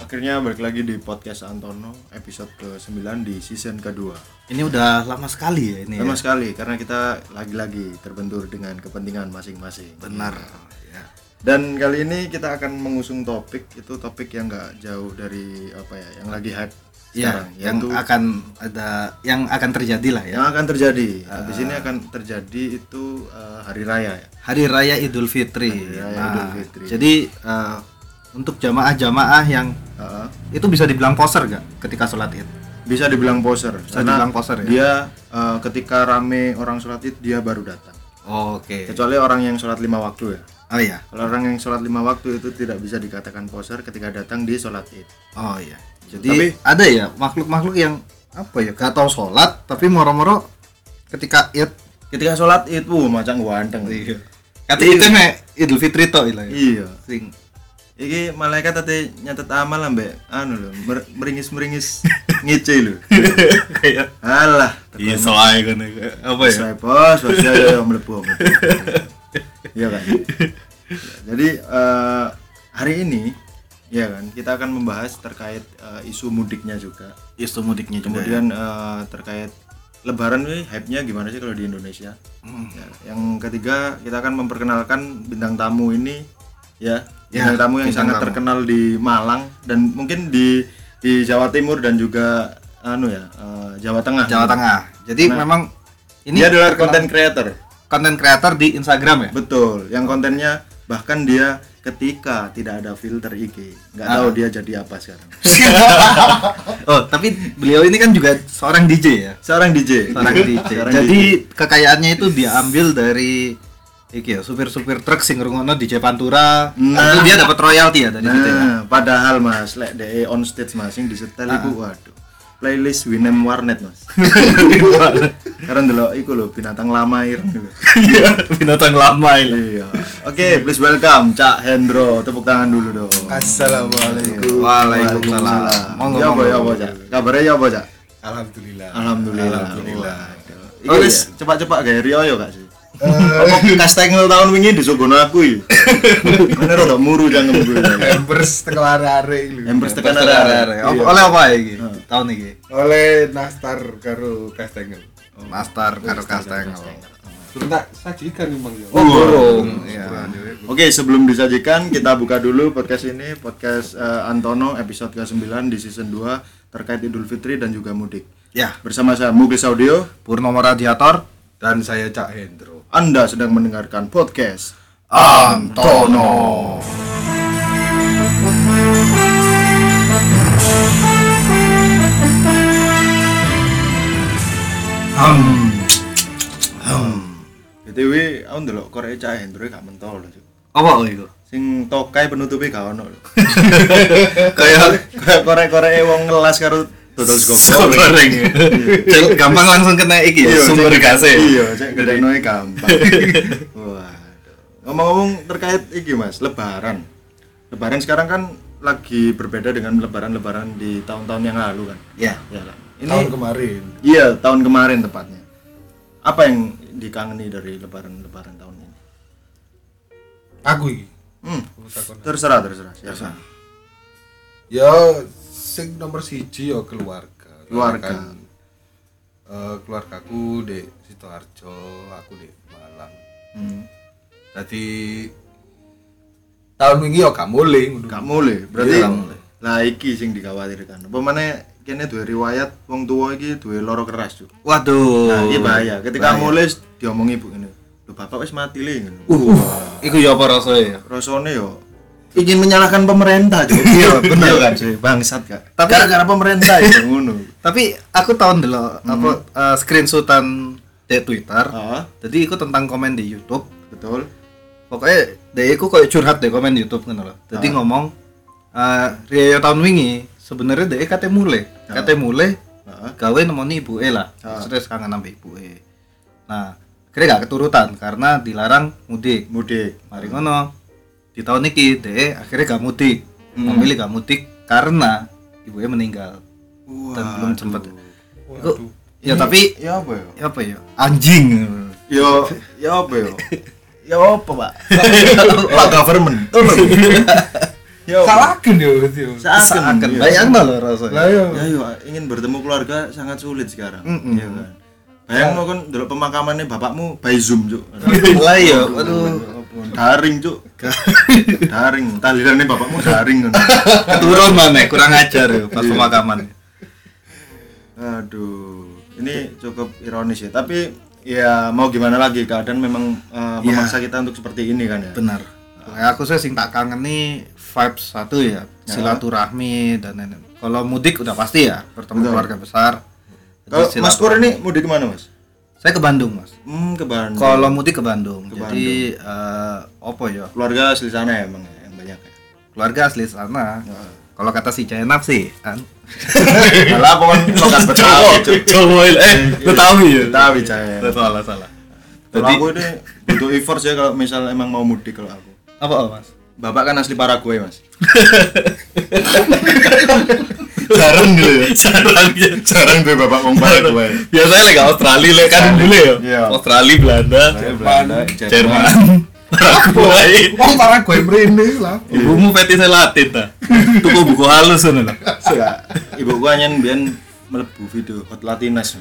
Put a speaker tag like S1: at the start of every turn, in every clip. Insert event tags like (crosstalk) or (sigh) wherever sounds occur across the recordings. S1: akhirnya balik lagi di podcast Antono episode ke-9 di season kedua.
S2: Ini udah lama sekali ya ini.
S1: Lama
S2: ya?
S1: sekali karena kita lagi-lagi terbentur dengan kepentingan masing-masing.
S2: Benar. Ya.
S1: Dan kali ini kita akan mengusung topik itu topik yang nggak jauh dari apa ya yang lagi hype
S2: Ya,
S1: sekarang
S2: yang
S1: yaitu
S2: akan ada yang akan terjadi lah ya.
S1: yang akan terjadi. Habis ini
S2: Ah.
S1: akan terjadi itu eh, hari raya ya.
S2: Hari Raya Idul Fitri.
S1: Raya
S2: Nah,
S1: Idul Fitri.
S2: Jadi eh, untuk jamaah-jamaah yang
S1: Heeh.
S2: itu bisa dibilang poser gak ketika sholat id?
S1: Bisa dibilang poser. Bisa
S2: dibilang poser ya?
S1: Dia eh, ketika rame orang sholat id dia baru datang.
S2: Oke.
S1: Kecuali orang yang sholat lima waktu ya.
S2: Oh iya.
S1: Kalau orang yang sholat lima waktu itu tidak bisa dikatakan poser ketika datang di sholat id.
S2: Oh iya. Jadi
S1: Tapi-
S2: ada ya makhluk-makhluk yang apa ya gak tahu sholat tapi moro-moro ketika id
S1: Ketika sholat id, wuh macam ganteng.
S2: Iya. kata itu nih Idul Fitri toh ilah ya.
S1: Iya. (laughs)
S2: Sing.
S1: Iki malaikat tadi nyatet amal ambek anu lho, mer- meringis-meringis (laughs) ngece lho.
S2: Kayak
S1: Alah,
S2: Iya, soalnya kan apa ya?
S1: saya bos, bos ya ya mlebu. mlebu. Iya kan. Jadi eh, hari ini ya kan kita akan membahas terkait eh, isu mudiknya juga.
S2: Isu mudiknya ya. kemudian.
S1: Kemudian eh, terkait Lebaran nih hype-nya gimana sih kalau di Indonesia?
S2: Hmm.
S1: Ya, yang ketiga kita akan memperkenalkan bintang tamu ini ya,
S2: Ya,
S1: bintang tamu yang
S2: bintang
S1: sangat
S2: tamu.
S1: terkenal di Malang dan mungkin di di Jawa Timur dan juga anu ya eh, Jawa Tengah.
S2: Jawa Tengah. Jadi memang ini
S1: Dia adalah content creator.
S2: konten kreator di (laughs) Instagram ya.
S1: Betul, yang kontennya bahkan dia ketika tidak ada filter IG, nggak
S2: Ah.
S1: tahu dia jadi apa sekarang.
S2: oh, tapi beliau ini kan juga seorang DJ ya.
S1: Seorang DJ.
S2: (laughs) Seorang DJ.
S1: (laughs) Seorang
S2: Jadi kekayaannya itu diambil dari iki ya, supir-supir truk sing ngrungokno DJ Pantura. Nah. Itu dia dapat royalti ya dari situ ya.
S1: Nah, padahal Mas, lek DE on stage Mas sing disetel iku
S2: Ah.
S1: waduh. Playlist Winem Warnet
S2: (laughs)
S1: Mas. Karena delok iku lho binatang lama ireng lho.
S2: (laughs) Iya, binatang lama ini.
S1: Iya. Oke, please welcome Cak Hendro. Tepuk tangan dulu dong.
S3: Assalamualaikum.
S2: Waalaikumsalam. Monggo
S1: Ya apa
S2: monggo.
S1: ya apa Cak? Kabarnya ya apa Cak?
S3: Alhamdulillah.
S1: Alhamdulillah.
S3: Alhamdulillah.
S1: Waduh. Iki wis cepak-cepak gawe riyo ya gak sih?
S3: Eh,
S1: Apa kastengel tahun wingi disogono aku iki. Bener rada muru jangem gue.
S3: Hampers tengah hari lu.
S1: Embers tekan
S2: Arek-arek.
S1: arah. Iya.
S2: Apa- Oleh apa ya iki? Tahun iki.
S3: Oleh nastar karo teh tengel.
S2: Oh. Master Iya. karo Kastengel.
S3: Sudah sajikan memang ya.
S2: Oh, burung. Iya.
S1: Oke, sebelum disajikan kita buka dulu podcast ini, podcast eh, Antono episode ke-9 di season 2 terkait Idul Fitri dan juga mudik.
S2: Ya,
S1: Bersama saya Muglis Audio,
S2: Purnomo Radiator
S3: Dan saya Cak Hendro.
S1: Anda sedang mendengarkan podcast.
S2: Antono.
S1: BTW, Hmm. aku ndelok korek cah Hendro gak mentol lho. Cuk.
S2: Apa kok itu?
S1: Sing tokai penutupnya gak ono lho.
S2: Kayak
S1: Kayak korek-korek wong ngelas karo dodol
S2: sego
S1: sego
S2: goreng. ya. Cek, Gampang langsung kena iki ya, sumber gase.
S1: Iya, cek gedenoe gampang. Waduh. Ngomong-ngomong terkait iki Mas, lebaran. Lebaran sekarang kan lagi berbeda dengan lebaran-lebaran di tahun-tahun yang lalu kan.
S2: Ya.
S1: Ya kan? Ini
S3: Tahun kemarin.
S1: iya, tahun kemarin tepatnya. Apa yang dikangeni dari lebaran-lebaran tahun ini?
S3: Aku iki.
S1: Hmm,
S3: Aku takon.
S1: terserah, terserah. Siapa?
S3: Ya sing nomor siji ya keluarga.
S1: Keluarga.
S3: Kan, eh, keluargaku di Sidoarjo, aku di Malang.
S1: Hmm.
S3: Tadi tahun ini ya gak mulai ngono.
S1: Gak mulai, berarti
S3: Iya, gak mulai.
S1: lah iki sing dikhawatirkan. Apa mana kene duwe riwayat wong tua iki duwe loro keras juga.
S2: Waduh.
S1: Nah, iya bahaya. Ketika nulis diomongi ibu ini, lu bapak wis mati le ngono.
S2: Uh, iku ya apa rasanya ya?
S1: Rasane yo ingin menyalahkan pemerintah juga. (laughs) Iya, bener kan sih, bangsat gak. Tapi gara-gara pemerintah (laughs) ya ngono.
S2: Tapi aku tahun dulu apa eh, screenshotan di Twitter.
S1: Heeh,
S2: Jadi iku tentang komen di YouTube.
S1: betul.
S2: pokoknya dia aku kayak curhat deh komen di YouTube kan loh. Jadi ngomong eh Rio tahun wingi sebenarnya dia kate mulai, kate mulai
S1: Heeh.
S2: gawe nemoni ibu E lah. Terus kangen sampai ibu E. Nah, kira gak keturutan karena dilarang mudik.
S1: Mudik.
S2: Mari ngono. Di tahun ini dia akhirnya gak mudik, memilih gak mudik karena ibu E meninggal dan belum sempat. Iku- Ya tapi
S1: Ya apa yo?
S2: apa ya anjing.
S1: Yo, (laughs) ya apa yo? Iya. Ya apa, Pak? Pak government. Ya,
S3: Salagen yo berarti ya? yo.
S2: seakan bayang Kan lho rasanya
S3: Lah yo.
S1: ya yo ingin bertemu keluarga sangat sulit sekarang
S2: Mm-mm.
S1: Iya kan bayang lo kan dulu pemakamannya bapakmu by zoom cuk
S2: lah iya, yo aduh
S1: daring cuk (laughs) daring tahlilannya bapakmu daring kan
S2: keturun mana kurang ajar yo pas pemakaman
S1: aduh ini cukup ironis ya tapi ya mau gimana lagi keadaan memang eh, memaksa kita untuk seperti ini kan ya
S2: benar Kayak aku sih sing tak kangen nih vibes satu ya silaturahmi dan lain kalau mudik udah pasti ya bertemu keluarga besar
S1: kalau
S2: Jadi
S1: mas Pur ini mudik kemana mas
S2: saya ke Bandung mas
S1: hmm ke Bandung
S2: kalau mudik ke Bandung jadi eh, apa ya
S1: keluarga asli sana ya emang ya, yang banyak ya
S2: keluarga asli sana kalau kata si Jainab sih kan
S1: malah pokoknya (laughs) lokat kan Betawi cuk
S2: Jawa eh Betawi ya
S1: Betawi cahaya
S2: salah salah
S1: Kalau aku ini butuh effort ya kalau misal emang mau mudik kalau aku.
S2: apa oh, mas
S1: Bapak kan asli Paraguay mas.
S2: jarang dulu ya jarang ya
S1: gitu Jarang tuh bapak ngomong Paraguay.
S2: biasanya lagi Australia lah kan dulu ya
S1: Iya.
S2: Australia Belanda
S1: Belanda, Jerman. Iya.
S2: Jerman Paraguay
S3: Wong parah gue mrene lah.
S2: ibumu fetishnya Latin ta tuku buku halus ngono lho.
S1: Enggak. ya. Ibu gua hanya biar melebu video hot Latinas.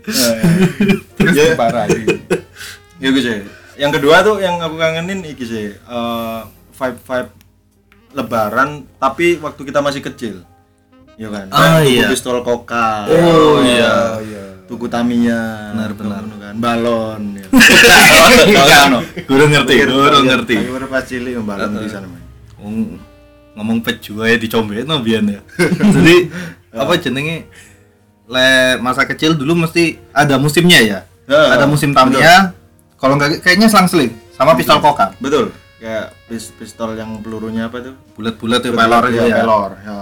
S3: Terus
S1: Ya.
S3: parah iki.
S1: ya gue sih. Yang kedua tuh yang aku kangenin iki sih eh, vibe vibe Lebaran tapi waktu kita masih kecil. Iya kan. Kayak
S2: Ah,
S1: tuku
S2: iya.
S1: Pistol koka.
S2: oh iya
S3: Oh iya.
S1: Tuku Tamiya.
S2: Benar, benar.
S1: ngono kan. Balon. ya.
S2: Guru ngerti, guru ngerti.
S1: Aku baru pas cilik yang balon di sana. Mas.
S2: Wong ngomong peju aja dicombekin no biyen ya. (laughs) Jadi
S1: Ah.
S2: apa jenenge le masa kecil dulu mesti ada musimnya ya.
S1: Ya,
S2: ada musim Tamiya. Kalau nggak kayaknya selang-seling sama pistol
S1: Iya.
S2: koka.
S1: Betul. Kayak pis- pistol yang pelurunya apa tuh?
S2: Bulat-bulat ya pelor itu
S1: ya.
S2: ya.
S1: Pelor. ya.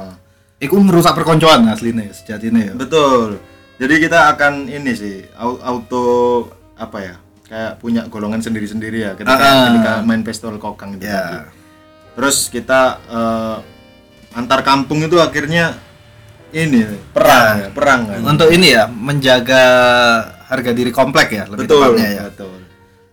S2: Iku ngerusak perkoncoan asline sejatine ya.
S1: Betul. Jadi kita akan ini sih au- auto apa ya? Kayak punya golongan sendiri-sendiri ya ketika,
S2: Ah.
S1: ketika main pistol kokang itu.
S2: Ya.
S1: tadi. Terus kita eh, antar kampung itu akhirnya ini perang, ya, perang kan.
S2: Untuk ini ya menjaga harga diri komplek ya lebih
S1: Betul.
S2: tepatnya ya.
S1: Betul.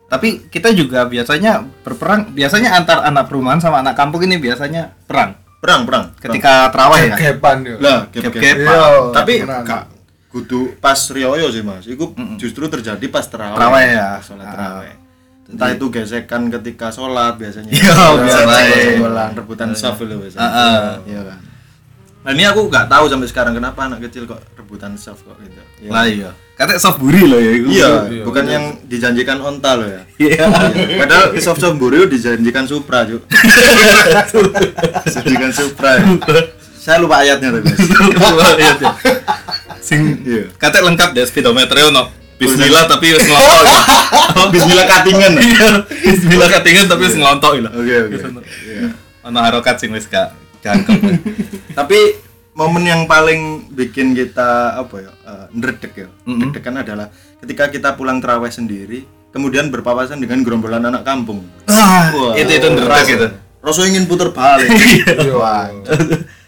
S2: Tapi kita juga biasanya berperang, biasanya antar anak perumahan sama anak kampung ini biasanya perang
S1: Perang, perang.
S2: ketika terawih ya.
S3: Kepan yo.
S1: lah
S2: Gap-gap.
S1: gap-gap.
S3: Iya,
S1: tapi
S3: tenang.
S1: gak kudu pas rioyo sih mas itu justru terjadi pas terawih Ah.
S2: Terawih ya.
S1: Pas sholat terawih entah itu gesekan ketika sholat biasanya
S2: Iya, biasanya.
S1: bolan rebutan saf itu biasanya
S2: Heeh.
S1: iya kan Iya. nah ini aku gak tahu sampai sekarang kenapa anak kecil kok rebutan saf kok gitu Iya.
S2: Lah iya. Katanya soft buri loh ya itu.
S1: iya bukan yang dijanjikan onta loh ya
S2: Iya.
S1: Iya. Padahal soft soft buru dijanjikan Supra (laughs) juga. dijanjikan Supra. ya. Saya lupa ayatnya tapi. Mas.
S2: Iya, iya. Sing
S1: Iya. Oh,
S2: katanya lengkap deh speedometernya ono. Bismillah tapi wis ngelontok. ya.
S1: (laughs) Bismillah katingan. ya?
S2: Iya. Bismillah katingan tapi wis ngelontok ya.
S1: Oke oke. Iya.
S2: Ono harokat sing wis gak (laughs) jangkep.
S1: Tapi momen yang paling bikin kita apa ya uh, nerdek ya,
S2: Mm-mm.
S1: dedekan adalah ketika kita pulang terawih sendiri, kemudian berpapasan dengan gerombolan anak kampung.
S2: Ah,
S1: Wah.
S2: itu itu ngerak gitu. Iya.
S1: Rasa ingin putar
S2: (laughs)
S1: balik. Wah.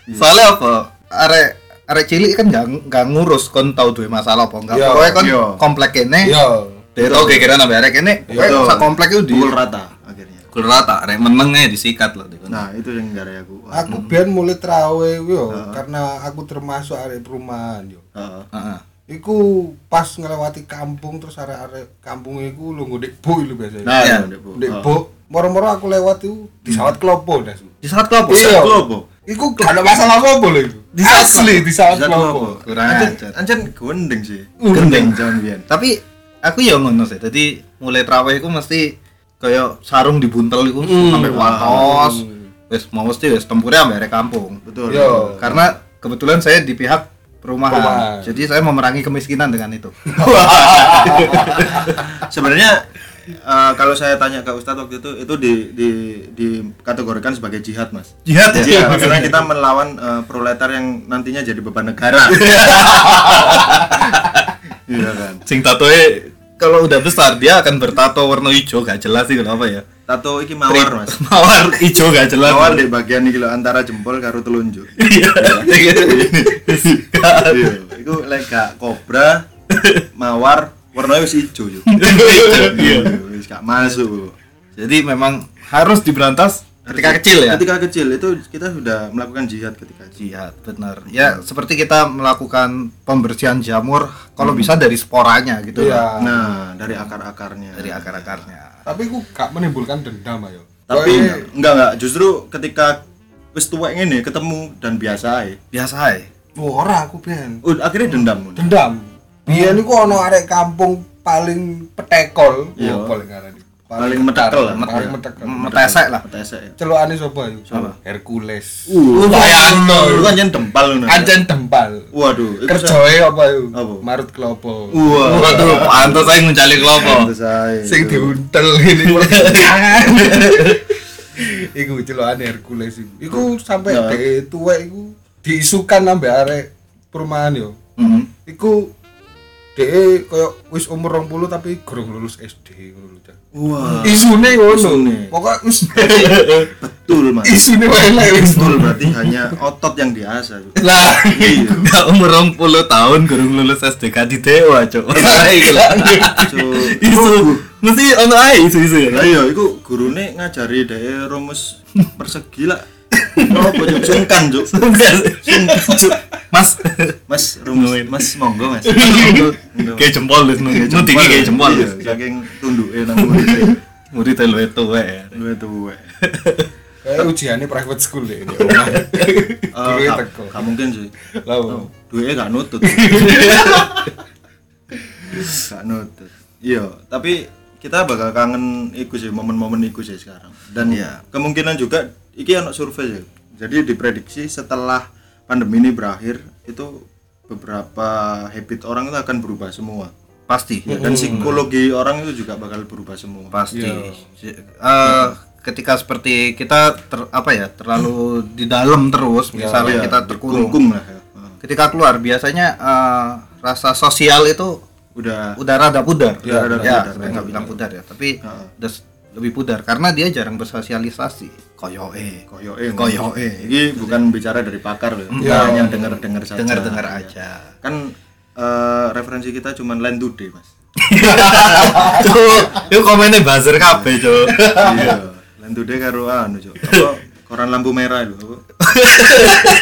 S2: Soalnya apa? Arek arek cilik kan gak, gak ngurus kon tau duwe masalah apa enggak.
S3: Iya,
S2: Pokoknya kon
S1: iya.
S2: komplek kene.
S3: Yo.
S2: Dero kira-kira nambah arek kene.
S3: Iya.
S2: Pokoknya
S1: Betul.
S2: sak komplek itu di
S1: Pukul rata akhirnya.
S2: Kul rata, arek menengnya disikat loh. di kono.
S1: Nah itu yang gara aku. Wah.
S2: Ah.
S3: Aku biar mulai trawe yo karena aku termasuk arek perumahan yo.
S1: Heeh.
S2: Heeh.
S3: Iku pas ngelewati kampung terus arek-arek kampung iku lungguh ndek bu lho biasanya.
S1: Nah, Hmm.
S2: Iya.
S1: itu, Dek, Bu.
S3: Ndek bu, moro-moro aku lewat iku disawat klopo das.
S2: Disikat kok apa?
S3: Iya.
S1: Klopo.
S3: Iku gak ada masalah apa lho iku.
S2: Disawat
S3: Asli disawat
S1: Bisa
S3: klopo.
S1: klopo.
S2: Kurang
S1: Ancen-
S2: ajar.
S1: Ancen gendeng sih.
S2: Gendeng.
S1: Gendeng jangan biyen.
S2: tapi aku ya ngono sih jadi mulai terawih aku mesti kayak sarung dibuntel itu
S1: Hmm.
S2: sampai watos wes mau mesti wes tempurnya sampai arek kampung
S1: Betul.
S3: Yo.
S2: karena kebetulan saya di pihak perumahan,
S3: Iya. Perumahan.
S2: jadi saya memerangi kemiskinan dengan itu
S1: sebenarnya eh, kalau saya tanya ke Ustadz waktu itu itu di, di dikategorikan sebagai jihad mas
S2: jihad Iya.
S1: jihad maksudnya kita melawan eh, proletar yang nantinya jadi beban
S2: (laughs)
S1: negara iya kan
S2: sing tatoe kalau udah besar dia akan bertato warna hijau gak jelas sih kenapa ya
S1: tato iki mawar mas
S2: (laughs) mawar hijau gak jelas
S1: mawar di bagian iki lho, antara jempol karo telunjuk
S2: iya
S1: iya itu lega
S2: (laughs)
S1: kobra mawar warnanya wis ijo yo
S2: Iya.
S1: wis gak masuk
S2: jadi memang harus diberantas ketika kecil ya
S1: ketika kecil itu kita sudah melakukan jihad ketika itu
S2: jihad benar ya seperti kita melakukan pembersihan jamur kalau bisa dari sporanya gitu ya
S3: Iya.
S1: nah dari akar akarnya
S2: dari akar akarnya
S3: Tapi ku gak menimbulkan dendam ayo.
S1: tapi enggak
S3: Koe-
S1: enggak, enggak. justru ketika wis tuwek ngene ketemu dan biasa ae
S2: biasa ya
S3: Wah, ora aku ben.
S1: Uh, akhirnya dendam Mun.
S3: Dendam. Biyen iku ono arek kampung paling petekol,
S1: Iya.
S3: Wah, paling ngarani.
S1: paling metekel lah Mm,
S3: Met- Paling
S1: metekel.
S3: metekel.
S2: metesek lah
S1: Metesek ya
S3: Celokane sapa yo? Hercules.
S1: uh
S3: bayangno.
S1: lu kan jen dempal lu nah.
S3: Anjen dempal.
S1: waduh itu saya-
S3: Kerjoe apa yo?
S1: Apa? Uh,
S3: Marut klopo.
S1: wah
S2: waduh pantas saya nguncali kelopo
S1: itu saya
S3: Sing
S1: itu.
S3: diuntel
S1: (laughs)
S3: ini. Iku celokane Hercules iku. Iku sampe
S1: Nah.
S3: dhek tuwek iku diisukan sampe arek perumahan yo.
S1: Mhm.
S3: iku de koyo wis umur 20 tapi gorong lulus SD ngono lho. Cak.
S1: wah
S3: Isune ngono.
S1: Ah. isune.
S3: Pokok wis (laughs)
S1: betul mas
S3: isune wae lah wis.
S1: betul berarti hanya otot yang diasah
S3: Lah
S1: iya
S2: Enggak umur 20 tahun gurung lulus SDK di dewa, Cuk. Ora iki lah.
S1: Cuk.
S2: Isu. Mesti ono ae isu-isu ya.
S1: Lah iya iku gurune ngajari dhek rumus persegi lah. Nopo
S2: (laughs)
S1: yo sungkan, Cuk.
S2: Cuk, Mas,
S1: Mas rumus Mas monggo,
S2: (laughs)
S1: Mas.
S2: kayak jempol wis nuti iki kayak jempol. ya.
S1: Iya, Saking tunduke nang e. murid.
S2: Murid lu itu wae.
S1: Luwe tuwe.
S3: kayak ujiane private school
S1: (laughs)
S3: deh. ini, omah. Duwe teko.
S1: Eh, Gak mungkin sih.
S3: Lah
S1: Ah, Oh, Duwe gak nutut. Gak nutut. Iya, tapi kita bakal kangen iku sih momen-momen iku sih sekarang. Dan ya,
S2: Iya.
S1: kemungkinan juga iki anak survei ya. Jadi diprediksi setelah pandemi ini berakhir itu beberapa habit orang itu akan berubah semua.
S2: Pasti.
S1: Ya, dan psikologi orang itu juga bakal berubah semua.
S2: Pasti. Si- eh, ketika seperti kita ter- apa ya terlalu di dalam terus
S1: Iya,
S2: misalnya kita terkurung
S1: dikungkung lah ya. Nah,
S2: ketika keluar biasanya eh, rasa sosial itu
S1: Udah
S2: udara rada pudar
S1: Udah rada
S2: ya,
S1: pudar,
S2: saya
S1: benar.
S2: nggak bilang pudar ya tapi
S1: Heeh.
S2: udah s- lebih pudar karena dia jarang bersosialisasi koyo (laughs) eh
S1: koyoke.
S2: Koyoke.
S1: Ini bukan bicara dari pakar loh.
S3: Iya.
S1: Hanya dengar-dengar saja.
S2: dengar dengar aja
S1: Kan eh, referensi kita cuman line today,
S2: (laughs)
S1: Mas.
S2: tuh itu komennya buzzer kabeh tuh
S1: iya lan today karo anu cok apa koran lampu merah lho apa
S2: (laughs)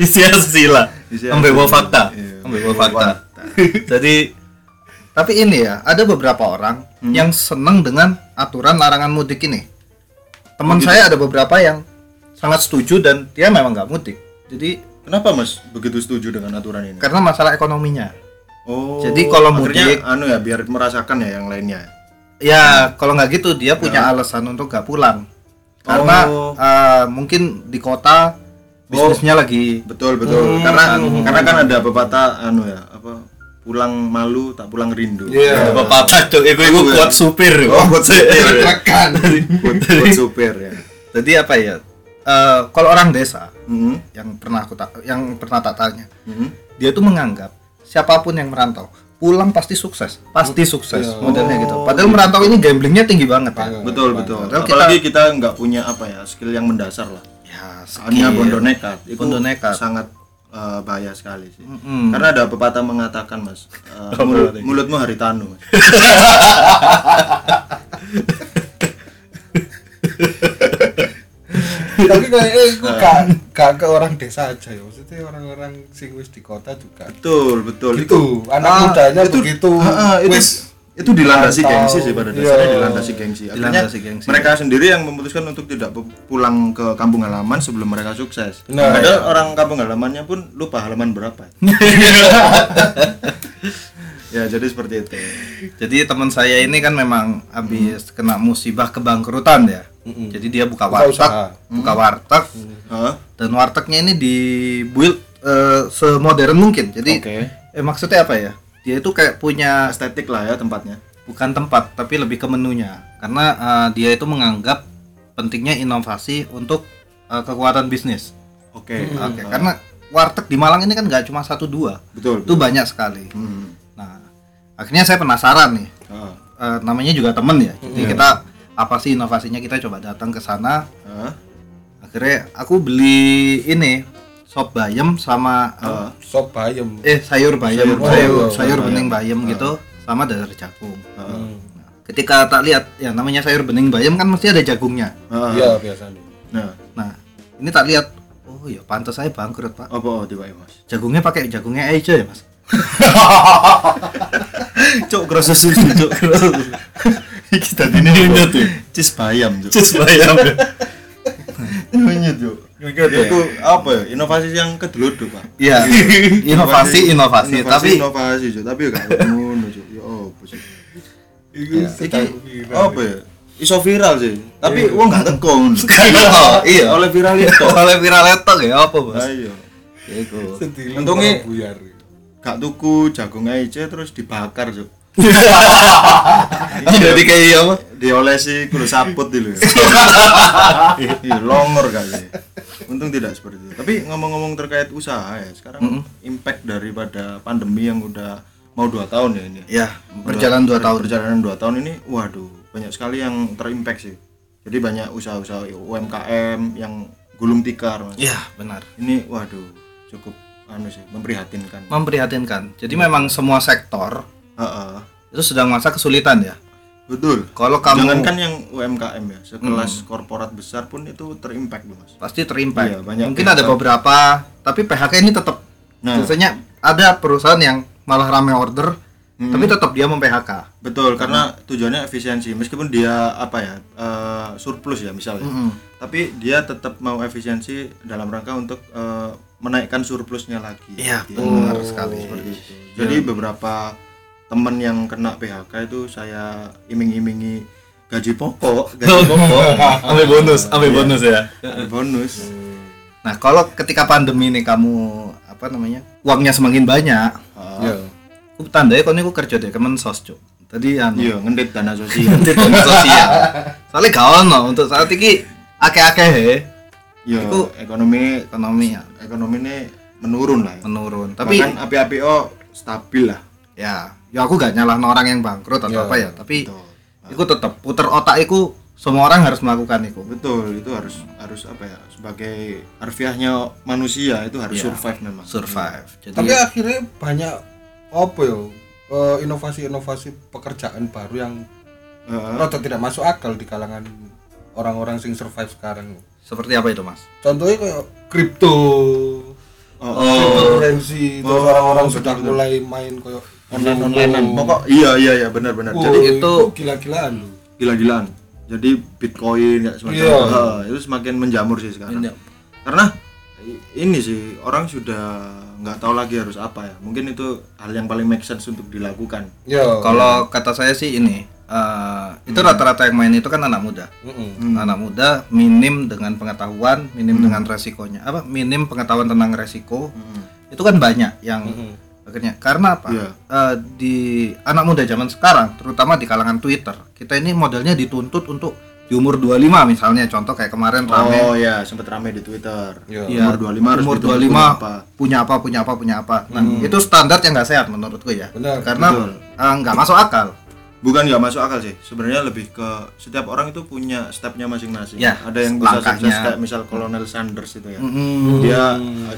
S2: isi sila
S1: Isi
S2: ambil bawa
S1: hasil.
S2: fakta
S1: Iya,
S2: ambil bawa fakta (laughs) jadi Hmm. tapi ini ya ada beberapa orang yang seneng dengan aturan larangan mudik ini teman saya ada beberapa yang sangat setuju dan dia memang nggak mudik jadi
S1: kenapa mas begitu setuju dengan aturan ini
S2: karena masalah ekonominya
S1: oh
S2: Jadi kalau
S1: akhirnya
S2: mudik-
S1: anu ya biar merasakan ya yang lainnya
S2: Ya, kalau nggak gitu dia punya alasan untuk nggak pulang. Karena
S1: Ya. Oh.
S2: eh, mungkin di kota bisnisnya lagi
S1: betul betul
S2: Hmm.
S1: karena karena kan ada pepatah anu ya apa pulang malu tak pulang rindu
S3: Iya.
S2: bapak cok, itu
S1: Iku ya.
S2: supir.
S1: oh buat supir ya.
S3: Rekan.
S1: buat,
S2: (laughs)
S1: buat supir ya
S2: Jadi apa ya? eh, kalau orang desa
S1: Mhm,
S2: yang pernah aku ta- yang pernah tak tanya,
S1: mhm.
S2: dia tuh menganggap siapapun yang merantau pulang pasti sukses,
S1: Mm.
S2: pasti sukses
S1: Iya.
S2: modelnya gitu.
S1: Oh.
S2: Padahal merantau ini gamblingnya tinggi banget ya.
S1: betul betul
S2: Padahal kita-
S1: apalagi kita nggak punya apa ya skill yang mendasar lah
S2: Ya,
S1: hanya
S2: skill.
S1: bondo nekat Iya. itu
S2: Bondo nekat.
S1: sangat eh, bahaya sekali sih
S2: Mm-mm.
S1: karena ada pepatah mengatakan mas eh, mulut- mulutmu hari tanu mas.
S3: Tapi kayak eh,
S1: Nah.
S3: iku gak gak ke orang desa aja ya. Maksudnya orang-orang sing wis di kota juga.
S1: betul betul
S3: Gitu. Anak
S1: Ah,
S3: mudanya
S1: itu-
S3: begitu.
S1: ah, ah, itu
S3: Wis
S1: itu dilandasi
S3: Atau-
S1: gengsi sih pada dasarnya
S3: Iya.
S1: dilandasi gengsi akhirnya
S2: Dilandasi gengsi.
S1: mereka sendiri yang memutuskan untuk tidak pu- pulang ke kampung halaman sebelum mereka sukses
S3: Nah,
S1: padahal orang kampung halamannya pun lupa halaman berapa ya jadi seperti itu
S2: Jadi teman saya ini kan memang habis kena musibah kebangkrutan ya. Jadi dia buka
S3: Buka
S2: warteg,
S3: usaha.
S2: buka warteg
S1: Hah?
S2: dan wartegnya ini dibuild eh, semodern mungkin. Jadi
S1: Oke.
S2: eh, maksudnya apa ya? Dia itu kayak punya
S1: estetik lah ya tempatnya
S2: bukan tempat tapi lebih ke menunya. Karena eh, dia itu menganggap pentingnya inovasi untuk eh, kekuatan bisnis.
S1: oke ah,
S2: Oke, karena warteg di Malang ini kan nggak cuma satu dua,
S1: betul
S2: itu banyak sekali.
S1: Hmm.
S2: Nah, akhirnya saya penasaran nih.
S1: Ah.
S2: Eh, namanya juga temen ya. Jadi kita apa sih inovasinya kita coba datang ke sana.
S1: Hah?
S2: Akhirnya aku beli ini sop bayam sama eh,
S3: sop bayem.
S2: eh sayur bayam, sayur
S3: bayam.
S2: sayur bening bayam gitu sama dadar jagung.
S1: Ah.
S2: Nah, ketika tak lihat ya namanya sayur bening bayam kan mesti ada jagungnya
S1: Ah,
S3: Iya biasanya.
S1: Nah,
S2: nah ini tak lihat oh ya pantas saya bangkrut pak
S1: apa tiba mas? (gasps)
S2: jagungnya pakai jagungnya aja ya mas
S1: Cok kerasa susu, (laughs) cok kerasa susu. Iki tadi ini nyut tuh. Cis bayam, cok.
S2: cus bayam
S1: (laughs) Nyut, cok. Itu apa ya? Inovasi yang kedeluduk, Pak.
S2: Iya, (laughs) inovasi, inovasi, tapi
S1: inovasi, cok. Tapi gak ngono, cok. Ya apa sih?
S3: Iku
S1: Iki apa ya? Iso viral sih. Tapi wong (laughs) gak teko.
S2: Iya, iya.
S1: Oleh viral (laughs) itu.
S2: oleh viral etok ya apa bos?
S1: Ayo. Iku.
S3: Sedih.
S1: Untungnya
S3: buyar.
S1: gak tuku jagung aja terus dibakar, cok.
S2: Jadi kayak iya apa?
S1: diolesi kudu saput
S2: (laughs)
S1: dulu Iya, longor kali untung tidak seperti itu tapi ngomong-ngomong terkait usaha ya sekarang impact daripada pandemi yang udah mau dua tahun ya ini
S2: Ya, berjalan dua tahun.
S1: perjalanan dua tahun ini waduh banyak sekali yang terimpact sih jadi banyak usaha-usaha UMKM yang gulung tikar mas
S2: Iya, benar.
S1: ini waduh cukup anu sih memprihatinkan
S2: Memprihatinkan. Jadi memang semua sektor
S1: Heeh.
S2: itu sedang masa kesulitan ya.
S1: betul
S2: Kalau kamu
S1: jangankan yang UMKM ya sekelas korporat besar pun itu terimpact loh mas
S2: pasti terimpa.
S1: Iya, banyak
S2: Mungkin ada beberapa, tapi PHK ini tetap
S1: Nah.
S2: biasanya ada perusahaan yang malah rame order, tapi tetap dia mem PHK.
S1: Betul, karena tujuannya efisiensi. Meskipun dia apa ya eh, surplus ya misalnya,
S2: Hmm.
S1: tapi dia tetap mau efisiensi dalam rangka untuk eh, menaikkan surplusnya lagi.
S2: Iya,
S1: Gitu.
S2: benar sekali. Iya.
S1: Seperti itu. Jadi beberapa teman yang kena PHK itu saya iming-imingi gaji
S2: (laughs)
S1: pokok, gaji pokok,
S2: Ambil bonus, ambil bonus ya.
S1: gaji bonus.
S2: Nah, kalau ketika pandemi ini kamu apa namanya? Uangnya semakin banyak.
S1: Ah.
S2: ya,
S3: Iya.
S2: Ku tandanya kau niku kerja deh kemensos cuk. Tadi anu
S1: Iya, ngendit dana
S2: (laughs)
S1: sosial.
S2: di tanda sosial. Soalnya gak ono untuk saat ini akeh-akeh he,
S1: Iya,
S2: Iku-
S1: ekonomi
S2: ekonomi ya
S1: ekonomi ini menurun lah. Ya.
S2: menurun. Tapi
S1: Bahkan APAPO stabil lah.
S2: ya, ya aku gak nyalahin orang yang bangkrut atau
S3: Ya, Nah.
S2: apa ya, tapi
S1: Betul.
S2: iku tetep puter otak iku semua orang harus melakukan iku.
S1: Betul, itu harus harus apa ya? Sebagai harfiahnya manusia itu harus survive memang.
S2: Iya,
S1: Iya.
S2: Survive. Jadi
S3: Tapi akhirnya banyak apa ya? eh, inovasi-inovasi pekerjaan baru yang
S1: Heeh.
S3: rada tidak masuk akal di kalangan orang-orang sing survive sekarang.
S2: seperti apa itu, Mas?
S3: Contohnya kayak kripto,
S1: Oh,
S3: cryptocurrency, terus
S1: Oh,
S3: orang-orang
S1: betul,
S3: sudah
S1: betul.
S3: mulai main kayak
S1: online onlinean. Pokok iya iya iya benar benar.
S3: Wow,
S1: Jadi
S2: itu-
S3: gila-gilaan loh.
S1: gila-gilaan. Jadi Bitcoin kayak semacam
S3: Iya.
S1: Heeh, itu semakin menjamur sih sekarang.
S2: Iya.
S1: Karena i- ini sih orang sudah nggak tahu lagi harus apa ya. Mungkin itu hal yang paling make sense untuk dilakukan.
S3: Ya.
S2: Kalau kata saya sih ini eh, itu rata-rata yang main itu kan anak muda.
S3: Mm-mm.
S2: Hmm. anak muda minim dengan pengetahuan, minim
S1: Hmm.
S2: dengan resikonya. Apa minim pengetahuan tentang resiko. Itu kan banyak yang akhirnya karena apa?
S1: Hmm. Iya.
S2: Eh, di anak muda zaman sekarang, terutama di kalangan Twitter, kita ini modalnya dituntut untuk di umur 25 misalnya contoh kayak kemarin rame
S1: Oh ya, sempat rame di Twitter.
S3: Iya.
S2: Iya,
S1: Umur 25 harus Hmm.
S2: umur
S1: betul-betul
S2: 25
S1: apa.
S2: punya apa punya apa punya apa. Nah, itu standar yang nggak sehat menurutku ya.
S3: Benar,
S2: Karena eh, nggak masuk akal.
S1: bukan nggak masuk akal sih sebenarnya lebih ke setiap orang itu punya stepnya masing-masing
S2: Ya,
S1: ada yang bisa
S2: langkahnya. Mm-hmm.
S1: sukses kayak misal Colonel Sanders itu ya dia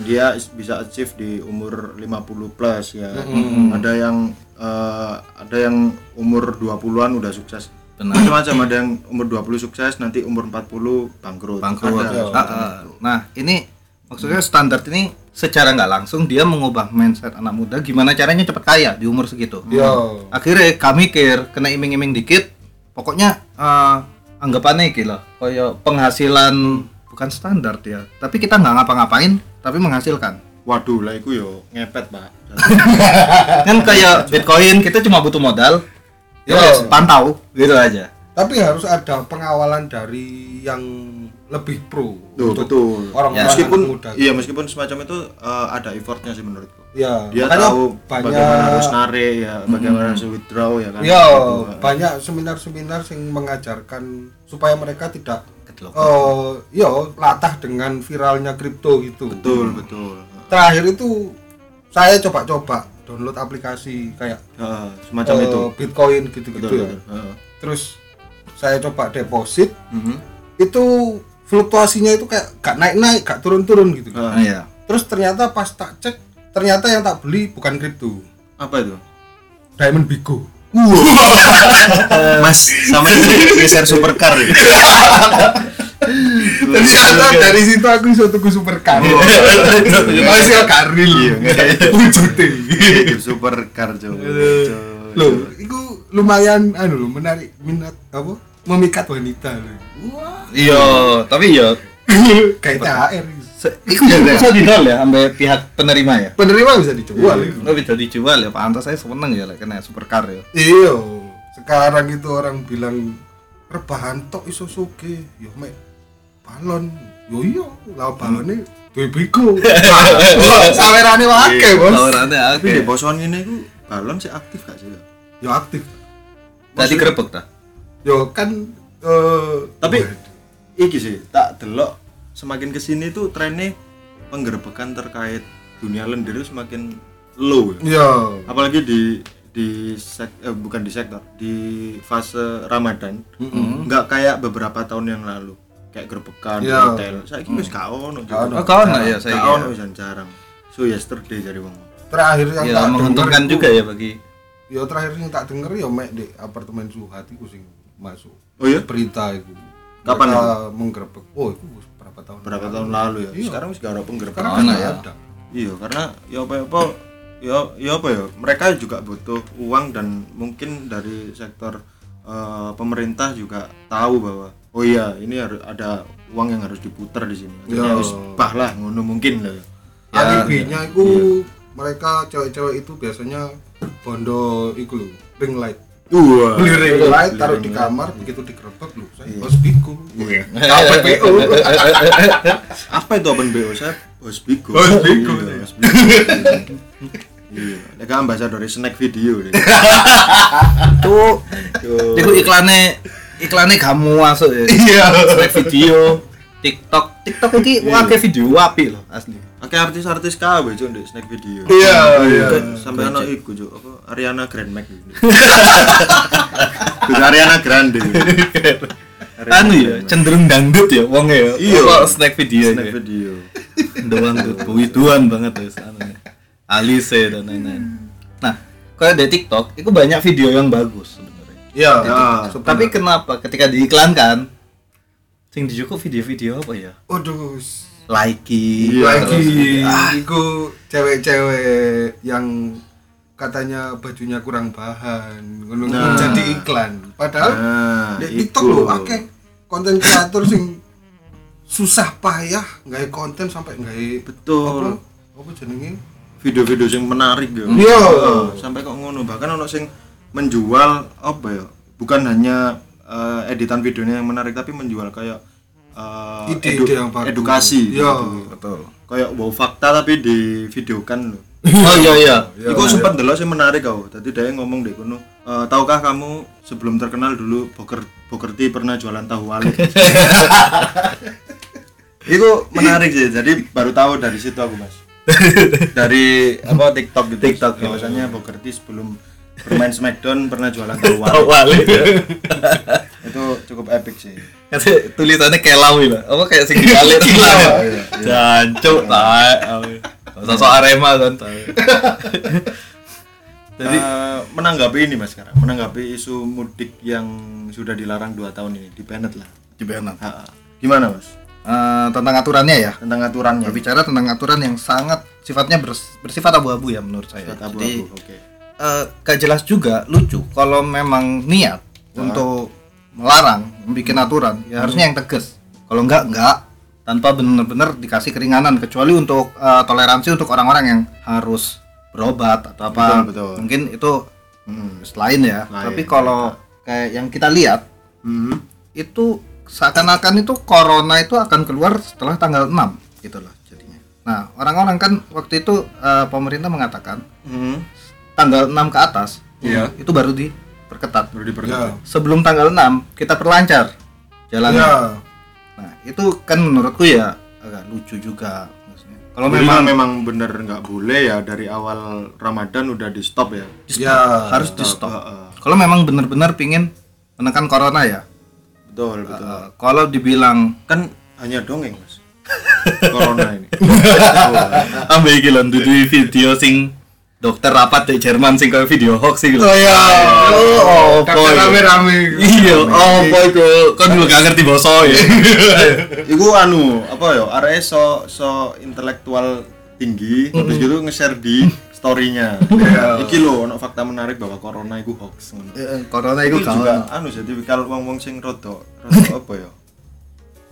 S1: dia bisa achieve di umur 50 plus ya
S2: Mm-hmm.
S1: ada yang eh, ada yang umur 20-an udah sukses
S2: Benar.
S1: macam-macam ada yang umur 20 sukses nanti umur 40 bangkrut,
S2: bangkrut.
S1: Ada.
S2: Ah, ah. Nah, ini maksudnya standar ini secara nggak langsung dia mengubah mindset anak muda gimana caranya cepat kaya di umur segitu.
S3: Ya.
S2: Akhirnya kami mikir kena iming-iming dikit, pokoknya eh, anggapannya iki loh, kayak penghasilan bukan standar ya, tapi kita nggak ngapa-ngapain tapi menghasilkan.
S1: waduh lah itu yo ngepet pak
S2: kan kayak Bitcoin kita cuma butuh modal, ya
S3: Yo.
S2: pantau gitu aja.
S3: Tapi harus ada pengawalan dari yang lebih pro.
S1: Tuh, betul
S3: orang-orang
S1: meskipun
S3: muda.
S1: iya meskipun semacam itu eh, ada effortnya sih menurutku
S3: Ya,
S1: dia
S3: makanya
S1: tahu
S3: banyak
S1: bagaimana harus narik ya bagaimana harus withdraw ya kan
S3: Ya,
S1: Gitu.
S3: banyak seminar-seminar yang mengajarkan supaya mereka tidak
S2: Kedelok.
S3: eh ya latah dengan viralnya kripto gitu.
S1: betul betul
S3: Terakhir itu saya coba-coba download aplikasi kayak
S1: Heeh, semacam
S3: eh,
S1: itu
S3: Bitcoin
S1: betul,
S3: gitu-gitu
S1: betul.
S3: ya.
S1: Heeh.
S3: Terus saya coba deposit,
S1: Mhm.
S3: itu fluktuasinya itu kayak gak naik-naik, gak turun-turun gitu.
S1: Heeh.
S2: Nah, ya.
S3: Terus ternyata (laughs) pas tak cek, ternyata yang tak beli bukan kripto,
S1: apa itu
S3: Diamond Bigo.
S1: Mas, sama ini geser supercar ya. Hmm.
S2: ternyata
S3: (laughs)
S2: dari situ aku iso tuku supercar
S1: Iya.
S2: oh iso karil wujudnya
S1: supercar coba. coba.
S3: Loh, itu lumayan anu loh, menarik minat apa? Memikat wanita loh. Wah,
S2: iya tapi iya
S3: (laughs) kayak THR.
S2: itu bisa didol ya sampai pihak penerima ya
S3: Penerima bisa gitu. dicoba loh.
S2: lo bisa dijual ya pantas saya seneng ya lah kena supercar ya
S3: Iya, sekarang itu orang bilang rebahan tok iso suge, yo mek balon. Yo iya, lah balone duwe biku.
S2: Eh, (laughs)
S3: Sawerane wae,
S2: Iya,
S3: Bos.
S2: tawarannya
S1: Tapi
S2: oke
S1: di bosoan ini ku balon sih aktif gak sih?
S3: Yo Ya, aktif.
S2: tadi kerebek dah
S3: Yo kan eh
S1: Tapi iki sih tak delok semakin kesini tuh trennya penggerbekan terkait dunia lendir itu semakin low. ya.
S3: yo
S1: Apalagi di di sek- eh, bukan di sektor di fase Ramadan nggak kayak beberapa tahun yang lalu kayak gerbekan di
S3: Iya.
S1: hotel saya kira Mm-hmm. gak ono iya,
S2: oh kawan lah ya
S1: saya
S2: saya kira.
S1: ono bisa jarang so yesterday jadi wong
S3: terakhir yang
S2: ya
S3: tak
S2: menguntungkan
S3: denger
S2: juga
S3: itu-
S2: ya bagi
S3: Yo terakhir yang tak denger yo mek di apartemen Suhat iku sing masuk.
S1: oh iya
S3: Berita iku.
S1: Kapan
S3: Mereka menggerebek. Oh, itu berapa tahun?
S1: berapa
S3: lalu.
S1: tahun lalu ya
S3: Iya.
S1: sekarang wis gak ada
S3: Sekarang
S1: penggerbekan
S3: kan
S2: Ono
S3: nggak
S2: ya.
S3: ada.
S1: iya karena ya apa apa ya ya apa ya mereka juga butuh uang dan mungkin dari sektor eh, pemerintah juga tahu bahwa oh iya ini harus ada uang yang harus diputar di sini akhirnya
S3: Iya.
S1: wis bah lah ngono mungkin lah Ya, Iya.
S3: alibinya itu mereka cewek-cewek itu biasanya bondo iku lho, ring light
S1: Wah.
S3: beli ring light
S1: Beli
S3: taruh
S1: ring Iya.
S3: di
S1: light.
S3: kamar begitu digerebek lho saya bos biku
S2: Iya. Apa
S3: BO?
S1: apa itu open BO saya bos bigo
S3: Bos Bigo,
S1: Iya, bos bigo iya ini kan ambassador snack video ini
S2: tuh
S1: Yo.
S2: itu iklannya iklannya kamu masuk ya
S3: iya
S2: Snack video TikTok Iya. TikTok ini pakai video api loh asli
S1: Oke artis-artis KW cuk ndek snack video.
S3: Iya, iya.
S1: Sampai ana iku cuk apa Ariana Grande Mac.
S3: (laughs)
S1: Gus Ariana Grande. Ariana
S2: anu ya
S1: Grande Mac.
S2: cenderung dangdut ya wong ya
S1: Iya.
S2: Apa snack video
S1: snack
S2: ya
S1: video.
S2: dangdut buituan banget ya anunya. Alise dan lain-lain nah kalau di TikTok itu banyak video yang bagus sebenarnya
S3: iya
S1: Ya.
S2: tapi kenapa ketika diiklankan sing dicukup video-video apa ya
S3: waduh s-
S2: likey
S1: Iya,
S3: lagi
S1: Ah.
S3: iku cewek-cewek yang katanya bajunya kurang bahan ngono
S1: Nah.
S3: jadi iklan padahal
S1: Nah,
S3: di
S1: iku.
S3: TikTok lho akeh konten kreator sing susah payah nggak konten sampai nggak apa
S1: Betul.
S3: apa jenenge
S1: Video-video yang menarik ya.
S3: Iya.
S1: Oh, Sampai kok ngono, bahkan ono sing menjual apa ya? Bukan hanya eh, editan videonya yang menarik tapi menjual kayak eh,
S3: Ide-ide yang bagus.
S1: edukasi
S3: Iya.
S1: gitu. kayak wow fakta tapi di video kan loh
S2: (laughs) oh iya iya
S1: Iku sempat delok sih menarik kau. Tadi dia ngomong di kono, "Eh, tahukah kamu sebelum terkenal dulu Boker Bokerti pernah jualan tahu
S2: (laughs)
S1: wali. Iku menarik sih. Jadi baru tahu dari situ aku
S2: (laughs)
S1: mas. Dari apa TikTok gitu. TikTok.
S2: iya.
S1: Biasanya Bokerti sebelum bermain Smackdown pernah jualan tahu wali.
S2: awalnya
S1: Itu cukup epic sih.
S2: Kasi tulisannya kelau lah. Apa kayak sing dialir lah. Jancuk tae. Sosok Arema kan tae.
S1: Jadi menanggapi ini mas sekarang, menanggapi isu mudik yang sudah dilarang dua tahun ini di Bennett lah.
S2: Di
S1: Ha, ha. Gimana mas?
S2: tentang aturannya ya.
S1: Tentang aturannya.
S2: Berbicara tentang aturan yang sangat sifatnya bers- bersifat abu-abu ya menurut saya.
S1: Buat
S2: Jadi
S1: abu-abu, oke.
S2: eh, gak jelas juga lucu kalau memang niat
S1: Ya.
S2: untuk melarang, bikin
S1: Hmm.
S2: aturan ya harusnya yang tegas. Kalau enggak enggak tanpa benar-benar dikasih keringanan kecuali untuk eh, toleransi untuk orang-orang yang harus berobat atau apa.
S1: Betul, betul.
S2: Mungkin itu
S1: Hmm.
S2: lain ya.
S1: Lain,
S2: Tapi kalau kayak yang kita lihat
S1: Hmm.
S2: itu seakan-akan itu corona itu akan keluar setelah tanggal 6 gitu loh jadinya. Nah, orang-orang kan waktu itu eh, pemerintah mengatakan
S1: Hmm.
S2: tanggal 6 ke atas
S3: Iya.
S2: itu baru diperketat.
S1: Baru
S3: ya
S1: diperkenalkan.
S2: Sebelum tanggal 6 kita perlancar jalannya.
S3: ya
S2: Nah, itu kan menurutku ya agak lucu juga maksudnya.
S1: Kalau
S2: Kalau memang
S1: memang memang bener nggak boleh ya dari awal Ramadan udah di stop ya.
S3: ya
S2: harus di
S1: Ha,
S2: stop.
S1: ha.
S2: Kalau memang benar-benar pingin menekan corona ya.
S1: Betul betul.
S2: Eh, kalau dibilang
S1: Ah. Kan hanya dongeng mas. (laughs) Corona ini.
S2: ambil iki lho dudu video sing
S4: dokter rapat di Jerman sing kayak video hoax sih
S2: Oh ya. Oh, apa
S3: Kakak
S2: itu?
S3: rame-rame.
S4: iya oh boy kok kan juga gak ngerti boso
S2: (laughs)
S4: ya
S1: Iku anu apa ya? Arek so so intelektual tinggi terus gitu nge-share di (laughs) story-nya. Iki lho ono fakta menarik bahwa corona iku hoax ngono.
S2: Eh, eh, Corona itu
S1: Iku
S2: kawan.
S1: juga anu jadi kalau wong-wong sing rada
S4: (laughs)
S1: rada apa ya?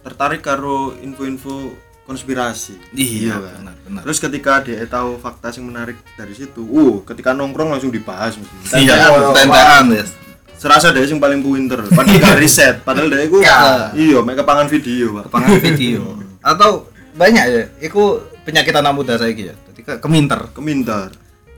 S1: Tertarik karo info-info konspirasi.
S4: iya
S1: kan?
S4: benar benar
S1: Terus ketika dia tahu fakta yang menarik dari situ, uh, ketika nongkrong langsung dibahas mesti.
S4: iya tentean ya
S1: Serasa dia yang paling pinter, padahal gak riset, padahal dia iku
S2: Ya.
S1: iya, mek kepangan video, Pak.
S4: pengen video
S2: (laughs) Atau banyak ya. Iku penyakit anak muda saya gitu. Jadi ke- keminter,
S1: Keminter.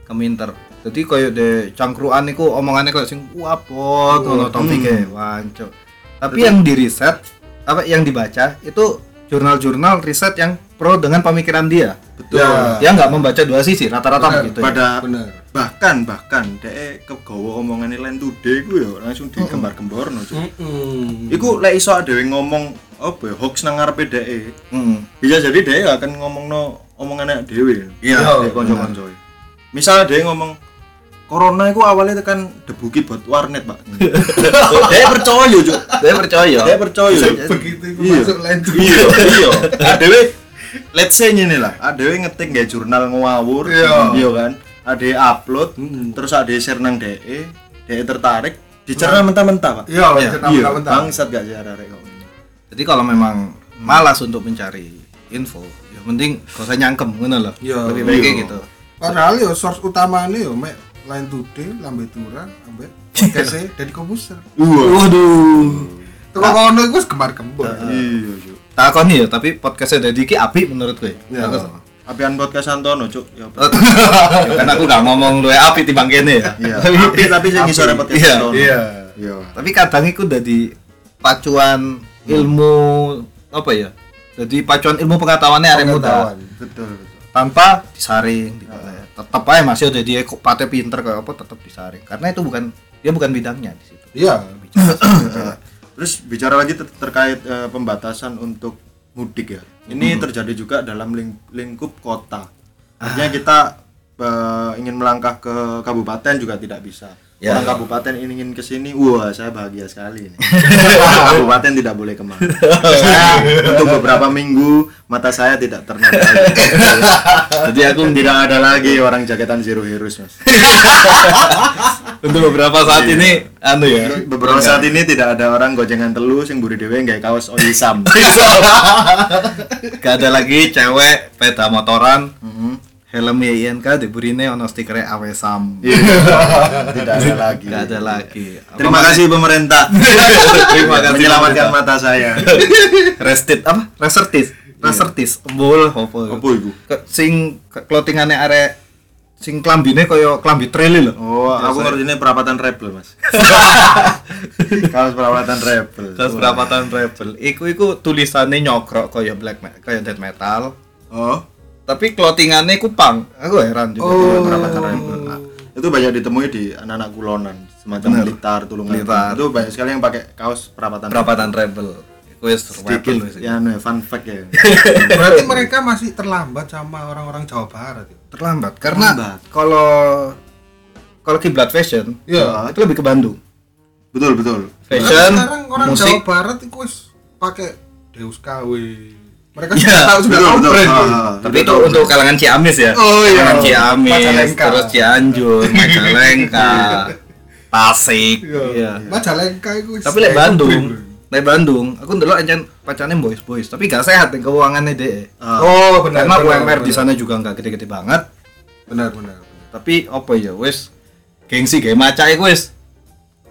S2: keminter. Jadi koyo de cangkruan iku omongannya koyo sing wapot ngono topike wancuk. Tapi yang di riset apa yang dibaca itu jurnal-jurnal riset yang pro dengan pemikiran dia.
S1: Betul.
S3: Ya.
S2: Dia nggak membaca dua sisi rata-rata
S4: Iya,
S2: begitu. ya.
S1: pada
S3: Bener.
S1: bahkan bahkan dek kegawa omongannya lain today gue ya langsung digembar gembar
S4: Mm-hmm.
S1: Iku lek iso ada yang ngomong apa ya hoax nang ngarepe dek
S2: Mm.
S1: bisa jadi dek akan ngomong no omongannya dewe
S4: Iya,
S1: konco konco misal dek Nah, ngomong corona itu awalnya tekan debuki buat warnet
S3: (laughs)
S1: pak dek percaya cuk
S2: Saya percaya.
S1: dek percaya
S3: Iya. Begitu itu
S1: Iya.
S3: masuk lain tuh.
S1: iya
S3: (laughs)
S1: iya adewe let's say ini lah adewe ngetik nggak jurnal ngawur
S3: Iya. Hmm.
S1: kan ade upload terus ade share nang DE DE E tertarik dicerna mentah-mentah pak
S3: Iya, cerita
S1: iya
S3: mentah-mentah.
S1: bangsat gak sih arek kok
S2: Jadi kalau memang malas untuk mencari info, ya mending gak usah nyangkem ngono loh.
S3: Iya,
S2: Lebih baiknya
S1: iya.
S2: gitu.
S3: Padahal yo source utamane yo mek lain today, lambe turan, lambe (laughs) podcast dari komputer.
S2: Waduh.
S3: Tukang kono iku wis gemar-gembor.
S1: iya cuk
S2: Takon ya, tapi podcastnya dari Diki api menurut gue.
S3: Iya.
S2: Aku sama.
S1: apian podcast Santono cuk ya Pak.
S2: (laughs) Ya, kan aku gak ngomong lu api timbang kene ya.
S1: iya
S2: Tapi-
S1: tapi tapi sing iso repot
S2: Iya,
S1: Santono
S3: iya.
S1: iya
S2: (laughs) tapi kadang itu dari pacuan ilmu apa ya? Jadi pacuan ilmu pengetahuannya arek muda
S3: Pengetahuan.
S1: betul betul
S2: tanpa disaring gitu ya. Tetep aja masih udah dia kok pate pinter kayak apa tetep disaring karena itu bukan dia bukan bidangnya di situ.
S3: Iya.
S1: Iya. Terus bicara lagi ter- terkait eh, pembatasan untuk mudik ya.
S2: Hmm.
S1: Ini terjadi juga dalam ling- lingkup kota.
S2: Ah.
S1: Artinya kita eh, ingin melangkah ke kabupaten juga tidak bisa.
S2: Ya.
S1: Orang kabupaten ingin ke sini, wah saya bahagia sekali
S2: (laughs)
S1: ini. kabupaten tidak boleh kemana. Saya untuk beberapa minggu mata saya tidak
S2: (laughs)
S1: ternodai. Jadi aku tidak ada lagi orang jaketan zero heroes mas.
S2: Untuk beberapa saat ini anu ya.
S1: Beberapa saat ini tidak ada orang gojengan telus yang buri dewe nggak kaos oisam.
S2: (laughs) Gak ada lagi cewek peda motoran.
S1: Mm-hmm.
S2: Helm YINK diburine ono stiker awesam.
S1: Iya. tidak ada lagi.
S2: Gak ada lagi.
S1: Terima kasih pemerintah.
S2: (laughs) Terima kasih
S1: menyelamatkan mata saya.
S2: Restit apa? Resertis. Resertis. Embul opo.
S1: Apa iku?
S2: Ke- Sing ke- clothingane arek sing klambine kaya klambi trele lho.
S1: Oh, aku ngerti ini perapatan rebel, Mas. Kaos perapatan rebel.
S2: Terus berapa tahun rebel? Iku iku tulisannya nyokro kaya black me- kaya death metal.
S1: Oh,
S2: Tapi clothingannya iku punk. Aku heran juga.
S1: itu perapatan rebel. Nah, itu banyak ditemui di anak-anak kulonan, semacam blitar, tulungan.
S2: Blitar.
S1: Itu banyak sekali yang pakai kaos perapatan.
S2: Perapatan rebel. Iku wis rebel
S1: Sedikit
S2: wis.
S1: ya anu ya, fun fact ya.
S3: Berarti mereka masih terlambat sama orang-orang Jawa Barat. ya?
S2: terlambat karena
S1: Terlambat.
S2: kalau kalau kiblat fashion
S3: Iya.
S2: itu lebih ke Bandung
S1: betul, betul.
S2: fashion
S3: Tapi sekarang orang
S2: musik
S3: Jawa Barat itu wis pakai Deus KW. Mereka
S2: Iya,
S3: sudah tahu sudah
S1: betul,
S3: tahu
S1: betul.
S3: brand.
S1: Ah,
S2: tapi itu untuk kalangan Ciamis ya
S3: Oh, iya.
S2: kalangan Ciamis
S3: Majalengka.
S2: terus Cianjur (laughs) Majalengka Tasik
S3: Iya. Majalengka itu wis
S2: tapi lek
S3: kayak
S2: Bandung
S3: brand.
S2: lek Bandung aku ndelok encen pacarnya boys boys tapi gak sehat nih keuangannya deh
S3: Oh, benar.
S2: Ah. karena
S3: benar,
S2: UMR di
S3: benar.
S2: sana juga nggak gede-gede banget
S3: Benar, benar.
S2: tapi apa ya wis gengsi geng maca iku wis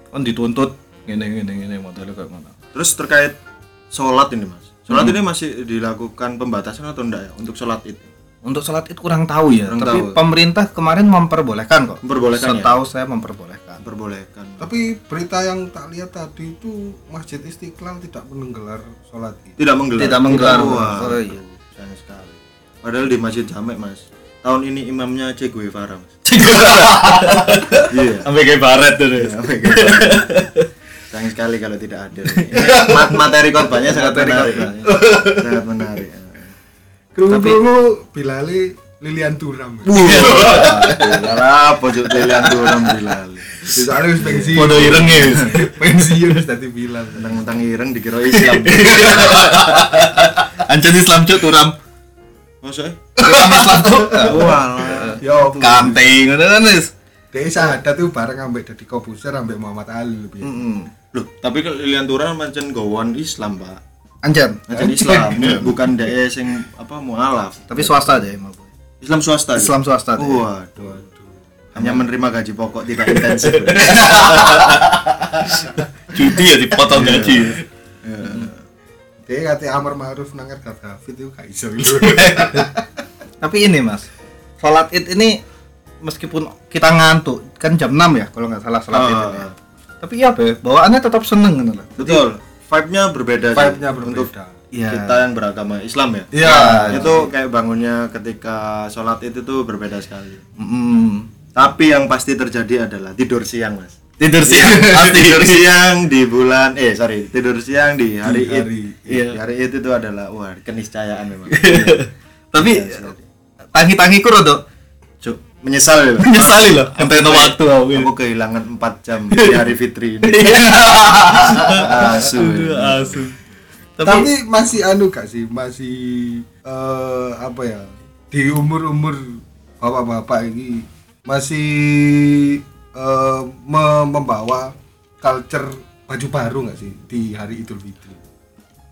S2: kan dituntut ngene ngene ngene modelnya kayak mana
S1: Terus terkait sholat ini, Mas. Sholat
S2: Hmm.
S1: ini masih dilakukan pembatasan atau enggak ya untuk sholat itu?
S2: Untuk sholat itu kurang tahu ya,
S1: Kurang
S2: tapi
S1: tahu.
S2: pemerintah kemarin memperbolehkan kok.
S1: Memperbolehkan ya?
S2: Setahu saya memperbolehkan.
S1: Perbolehkan.
S3: Tapi berita yang tak lihat tadi itu Masjid Istiqlal tidak menenggelar sholat itu.
S1: tidak menggelar
S2: Tidak menggelar.
S1: Wah,
S2: Oh, iya.
S1: sayang sekali padahal di masjid jamek mas tahun ini imamnya Che Guevara mas (laughs) iya
S2: Sampai kayak baret tuh.
S1: iya, Che Guevara. sayang sekali kalau tidak ada Mat materi korbannya sangat menarik sangat menarik
S3: Kerungu-kerungu Bilali Lilian Turam.
S1: Iya, Lara pojok pilihan tuh orang bilang.
S3: Sisane wis pensiun.
S4: Podo ireng ya. wis.
S3: (laughs) Pensiun wis dadi bilang.
S1: Tentang-tentang ireng dikira Islam.
S2: (laughs)
S4: Ancen Islam cuk turam.
S1: Masa?
S4: Turam Islam cuk.
S1: Walah.
S3: Yo,
S4: Kante ngono kan wis.
S3: Ya, Dek sahadat tuh bareng ambek Deddy Kobuser ambek Muhammad Ali lebih.
S1: Mm-mm. Loh, tapi kalau Lilian Turan mancen gowon Islam, Pak.
S2: Anjan.
S1: Mancen Islam, bukan dae sing apa mualaf.
S2: Tapi swasta aja ya, Mbak Boy.
S1: Islam swasta. ya?
S2: Islam swasta iya. aja.
S1: Waduh. Hanya menerima gaji pokok tidak intensif. ya?
S4: Cuti ya dipotong gaji.
S3: Dek kate Amar Ma'ruf nangar Gaddafi itu gak
S4: (laughs)
S3: iso gitu.
S2: Tapi ini Mas, sholat id ini meskipun kita ngantuk kan jam 6 ya kalau nggak salah sholat id ini.
S1: Ah,
S2: Tapi iya Boy, bawaannya tetap seneng gitu loh.
S1: Betul. Vibe-nya berbeda. sih.
S3: Vibe-nya berbeda.
S1: Untuk
S2: Iya.
S1: kita yang beragama Islam ya.
S3: Iya.
S1: itu kayak bangunnya ketika sholat itu tuh berbeda sekali.
S2: Mm.
S1: Tapi yang pasti terjadi adalah tidur siang, Mas.
S4: Tidur
S1: (laughs)
S4: siang pasti.
S1: Iya.
S4: (laughs)
S1: tidur siang di bulan eh sorry tidur siang di hari
S3: Di
S1: Id
S3: hari-
S1: Iya. Di hari Id itu adalah wah keniscayaan
S4: (laughs)
S1: memang
S4: Iya.
S2: Iya.
S1: (laughs)
S4: Tapi tangi-tangiku rada
S1: Cuk, menyesal ya Pak.
S4: menyesali loh. Ente no waktu aku. Iya.
S1: aku kehilangan 4
S4: (laughs)
S1: jam di hari Fitri ini asu iya.
S4: Aduh, asu.
S3: Tapi, Tapi masih anu gak sih? Masih eh apa ya? Di umur-umur bapak-bapak ini masih eh, me- membawa culture baju baru gak sih di hari Idul Fitri?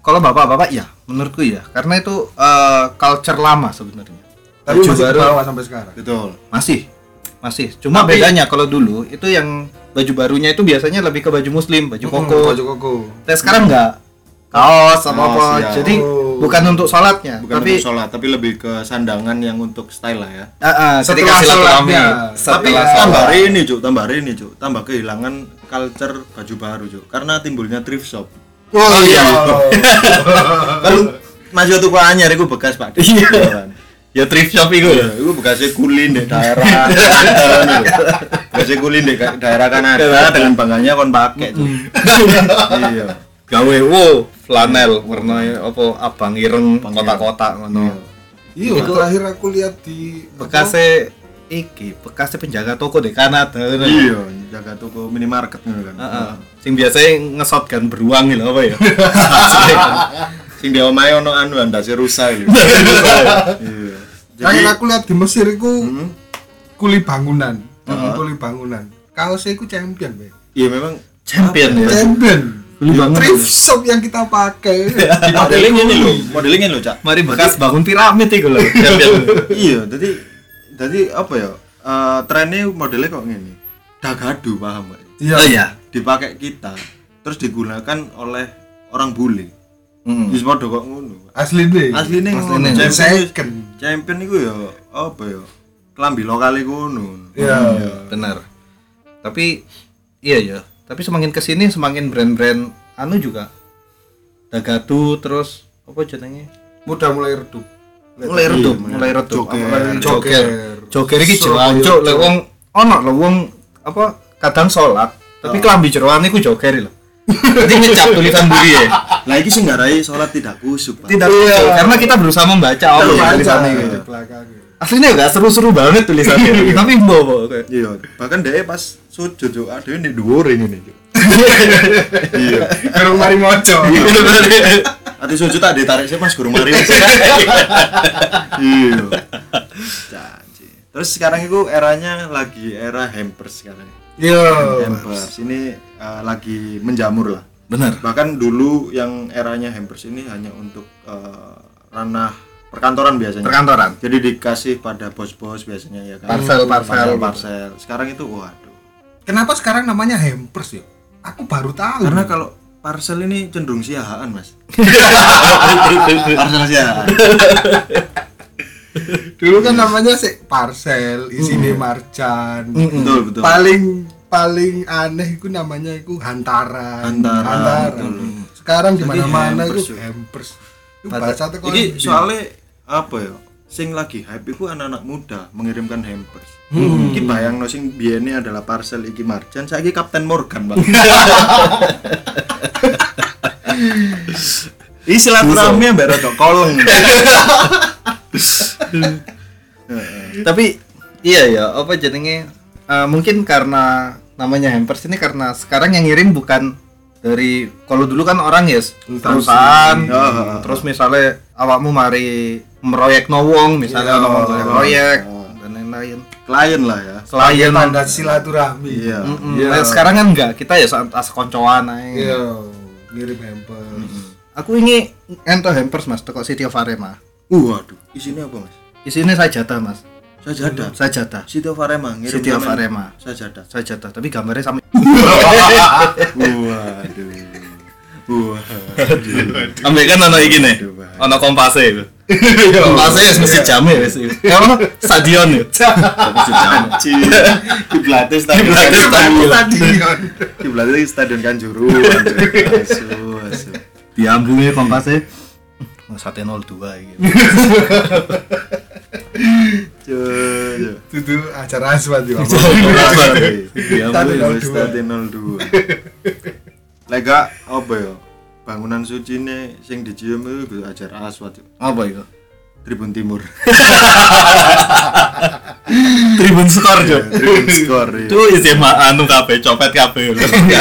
S2: Kalau bapak-bapak ya, menurutku ya, karena itu eh, culture lama sebenarnya. Baju
S3: Tapi masih
S2: baru.
S3: dibawa sampai sekarang.
S1: betul
S2: Masih, masih. Cuma bedanya kalau dulu itu yang baju barunya itu biasanya lebih ke baju muslim, baju koko.
S3: Hmm, Baju koko.
S2: Tapi sekarang nggak kaos apa apa.
S1: Kaos, ya.
S2: Jadi
S3: Oh.
S2: bukan untuk sholatnya,
S1: bukan
S2: tapi
S1: untuk sholat tapi lebih ke sandangan yang untuk style lah ya
S2: Ah, ah, ketika
S3: Setelah
S2: silaturahmi.
S3: sholatnya.
S1: tapi
S2: Setelah sholat.
S1: tambah hari ini cuk tambah hari ini cuk tambah kehilangan culture baju baru cuk karena timbulnya thrift shop
S3: Oh iya.
S2: ya.
S1: kan masih tuh anyar itu bekas pak iya
S4: Ya thrift shop iku ya.
S1: Iku bekasnya kulin di (laughs) daerah Kalimantan lho. Bekasnya kulin di ka- daerah Kanada Hmm. dengan bangganya kon pakai tuh. Iya.
S4: Gawe wo flanel warna apa abang ireng kotak-kotak ngono.
S3: Iya, terakhir aku lihat di
S2: bekasnya iki, bekasnya penjaga toko di Kanada.
S1: Iya, jaga toko minimarket ngono kan.
S2: Ah, ah. Sing biasanya ngesotkan beruang gitu apa ya?
S1: Sing dia omahe ono anu andase rusa (laughs) lho. Iya.
S3: Terakhir aku lihat di Mesir itu
S2: Mm-hmm.
S3: kuli bangunan, kuli bangunan. Kaosnya itu champion, Be.
S1: Iya memang
S2: Champion ya.
S3: Champion.
S2: Kuli bangunan.
S3: Iya. Thrift shop yang kita pakai.
S1: di modeling ini lho, modeling ini lho, Cak.
S2: Mari bekas bangun piramid iku (laughs) lho. Champion.
S1: Iya, jadi jadi apa ya? Eh trennya modelnya kok ngene. Dagadu paham gak?
S3: Iya.
S2: Oh iya.
S1: Dipakai kita terus digunakan oleh orang bule.
S2: Hmm.
S1: Wis padha kok ngono.
S3: Asli deh.
S1: asline ngono champion
S2: Asline.
S3: Second.
S1: iku- champion iku ya apa ya klambi lokal iku ngono
S3: Iya.
S2: Hmm. Benar. Tapi iya ya. Tapi semakin kesini semakin brand-brand anu juga. Dagatu terus apa jenenge?
S3: Mudah mulai redup.
S2: Mulai redup, mulai redup.
S1: Joker.
S2: Apa-
S3: Joker.
S2: Joker. Joker iki
S3: Surabaya
S2: jeroan cuk, lek wong ono lho wong apa kadang sholat tapi kelambi jeroan iku joker lho. Jadi Oh. ngecap tulisan buri ya.
S1: lah iki sing ngarai salat tidak kusuk Pak. Iya,
S2: Tidak betul, karena kita berusaha membaca apa ya tulisannya
S3: Baca
S2: gitu.
S3: di belakangnya.
S2: Aslinya enggak seru-seru banget tulisannya, (laughs) Gitu. tapi bobo kayak.
S1: iya bahkan dhek pas sujud yo adewe ning dhuwur ngene iki iya
S3: Gerung mari mojo.
S1: ati sujud tak ditarik sih Mas guru mari Mas. (laughs) iya Janji. terus sekarang itu eranya lagi era hampers sekarang
S3: Iya.
S1: hampers ini eh, lagi menjamur lah
S4: Bener.
S1: bahkan dulu yang eranya hampers ini hanya untuk eh, ranah perkantoran biasanya
S2: Perkantoran.
S1: jadi dikasih pada bos-bos biasanya ya kan
S2: Parcel, parcel.
S1: parcel sekarang itu waduh
S3: Kenapa sekarang namanya hampers ya? Aku baru tahu.
S1: karena kalau parcel ini cenderung siahaan
S2: (laughs)
S1: mas parcel siahaan
S3: dulu kan namanya sih parcel, isinya marjan.
S1: betul Hmm. betul
S3: paling paling aneh itu namanya itu hantaran
S1: Hantaran,
S3: hantaran.
S1: betul.
S3: sekarang di mana mana
S1: hampers, ya.
S3: itu hampers itu bahasa itu
S1: jadi soalnya apa ya sing lagi hype itu anak-anak muda mengirimkan hampers Iki bayang no sing biene adalah parcel iki Marjan, saiki Kapten Morgan (laughs) bang. (laughs) Ih silaturahmi ambek rada kolong. Heeh.
S2: Hmm. tapi iya ya apa jenenge eh, mungkin karena namanya hampers ini karena sekarang yang ngirim bukan dari kalau dulu kan orang ya s- perusahaan terus misalnya awakmu mari meroyek no wong misalnya ono wong golek proyek dan lain-lain
S1: klien lah ya
S2: klien
S3: Iya, tanda silaturahmi
S1: iya
S2: Mm-mm. Nah, sekarang kan enggak kita ya saat as koncoan aja
S3: iya ngirim hampers
S2: aku ini ento hampers mas toko City of Arema
S1: uh waduh isinya apa mas
S2: isinya sajata mas
S1: sajada
S2: sajata
S1: City of Arema ngirim
S2: City of
S1: komen.
S2: Arema
S1: sajada
S2: sajata tapi gambarnya sama
S1: waduh waduh
S4: (laughs) Ambek kan ono iki ne.
S1: Aduh, Pak.
S4: Ono kompase iku. Kompase wis mesti jame wis. Ya ono (laughs) stadion ya.
S1: Anjing. Kiblatnya stadion
S4: Kiblatnya
S1: Kanjuruhan.
S3: stadion
S1: Kiblatnya stadion Kanjuru. anjing. Asu, asu.
S2: diambungi
S4: (laughs)
S2: kompasnya Oh, sate 02 gitu
S1: Cuy, cuy.
S3: itu acara asmat juga
S4: Oh,
S1: Diambungi oleh Stadion 02. Lega apa ya? Bangunan suci ini sing dicium itu gue ajar aswat cuy.
S2: apa itu?
S1: Tribun Timur.
S4: Tribun skor yo.
S1: Tribun skor. iya.
S4: Itu isi ma- anu kabeh copet (laughs) kabeh. lho.
S2: Oh,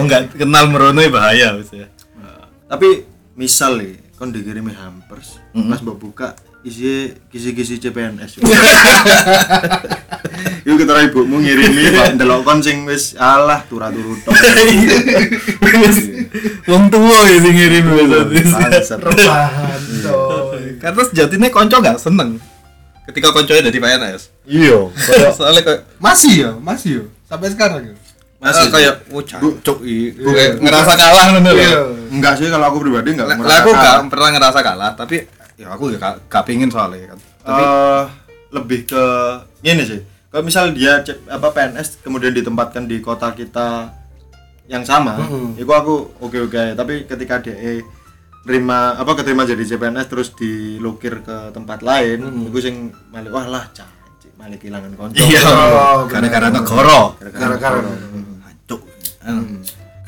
S4: Wong enggak kenal merono ya bahaya wis ya.
S1: Nah, Tapi misal nih, kon dikirimi hampers, pas mbok buka isi kisi-kisi CPNS. Yuk kita rai ibumu ngirimi pak ndelok kon sing wis alah turu-turu tok.
S4: Wong tuwa ya sing ngirim wis.
S1: Bangsat.
S3: bahan toh
S4: Karena sejatinya konco gak seneng ketika konconya dari PNS.
S1: Iya.
S2: (laughs)
S4: Soalnya kayak
S3: masih ya masih ya sampai sekarang ya
S1: Masih
S2: ah,
S4: Masih kayak oh cok
S3: Iya.
S4: ngerasa kalah ngono
S3: iya
S4: lho.
S1: Enggak sih kalau aku pribadi enggak
S4: Lah
S1: merasa
S4: aku gak
S1: kalah.
S4: pernah ngerasa kalah, tapi ya aku gak, gak pingin soalnya kan.
S1: Eh, lebih ke ini sih. Kalau misal dia C- apa PNS kemudian ditempatkan di kota kita yang sama,
S4: Hmm.
S1: itu aku oke oke. aja. Tapi ketika dia terima apa keterima jadi CPNS terus dilukir ke tempat lain, itu sing malah wah lah caci malah kehilangan konco.
S4: Hmm. Iya,
S3: Oh,
S4: gara-gara negara.
S3: gara-gara
S4: Cuk.
S2: Ah.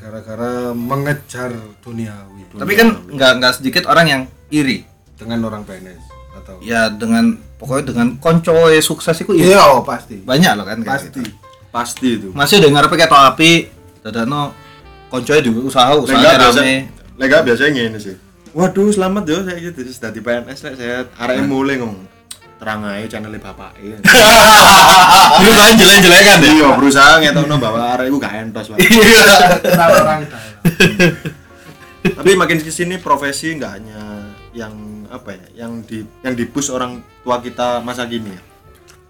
S3: gara-gara mengejar duniawi
S2: tapi kan nggak nggak sedikit orang yang iri
S3: dengan orang PNS atau
S2: ya dengan pokoknya dengan koncoe sukses itu iri
S3: iya pasti
S2: banyak loh kan kayak
S3: pasti
S2: gitu.
S1: Pasti itu.
S2: masih udah ngarepnya kayak tau api dadakno koncoe di usaha usaha
S1: Lega biasa,
S2: rame
S1: lega biasanya ngene sih. Waduh, selamat yo saya gitu terus dadi PNS lek saya arek mulai ngomong terang aja channelnya bapak
S4: (laughs) Lu kan jelek-jelek kan ya.
S1: iya berusaha ngetokno bahwa arek iku gak entos Pak.
S3: kenal orang dalam
S1: tapi makin kesini profesi nggak hanya yang apa ya yang di yang dipus orang tua kita masa kini ya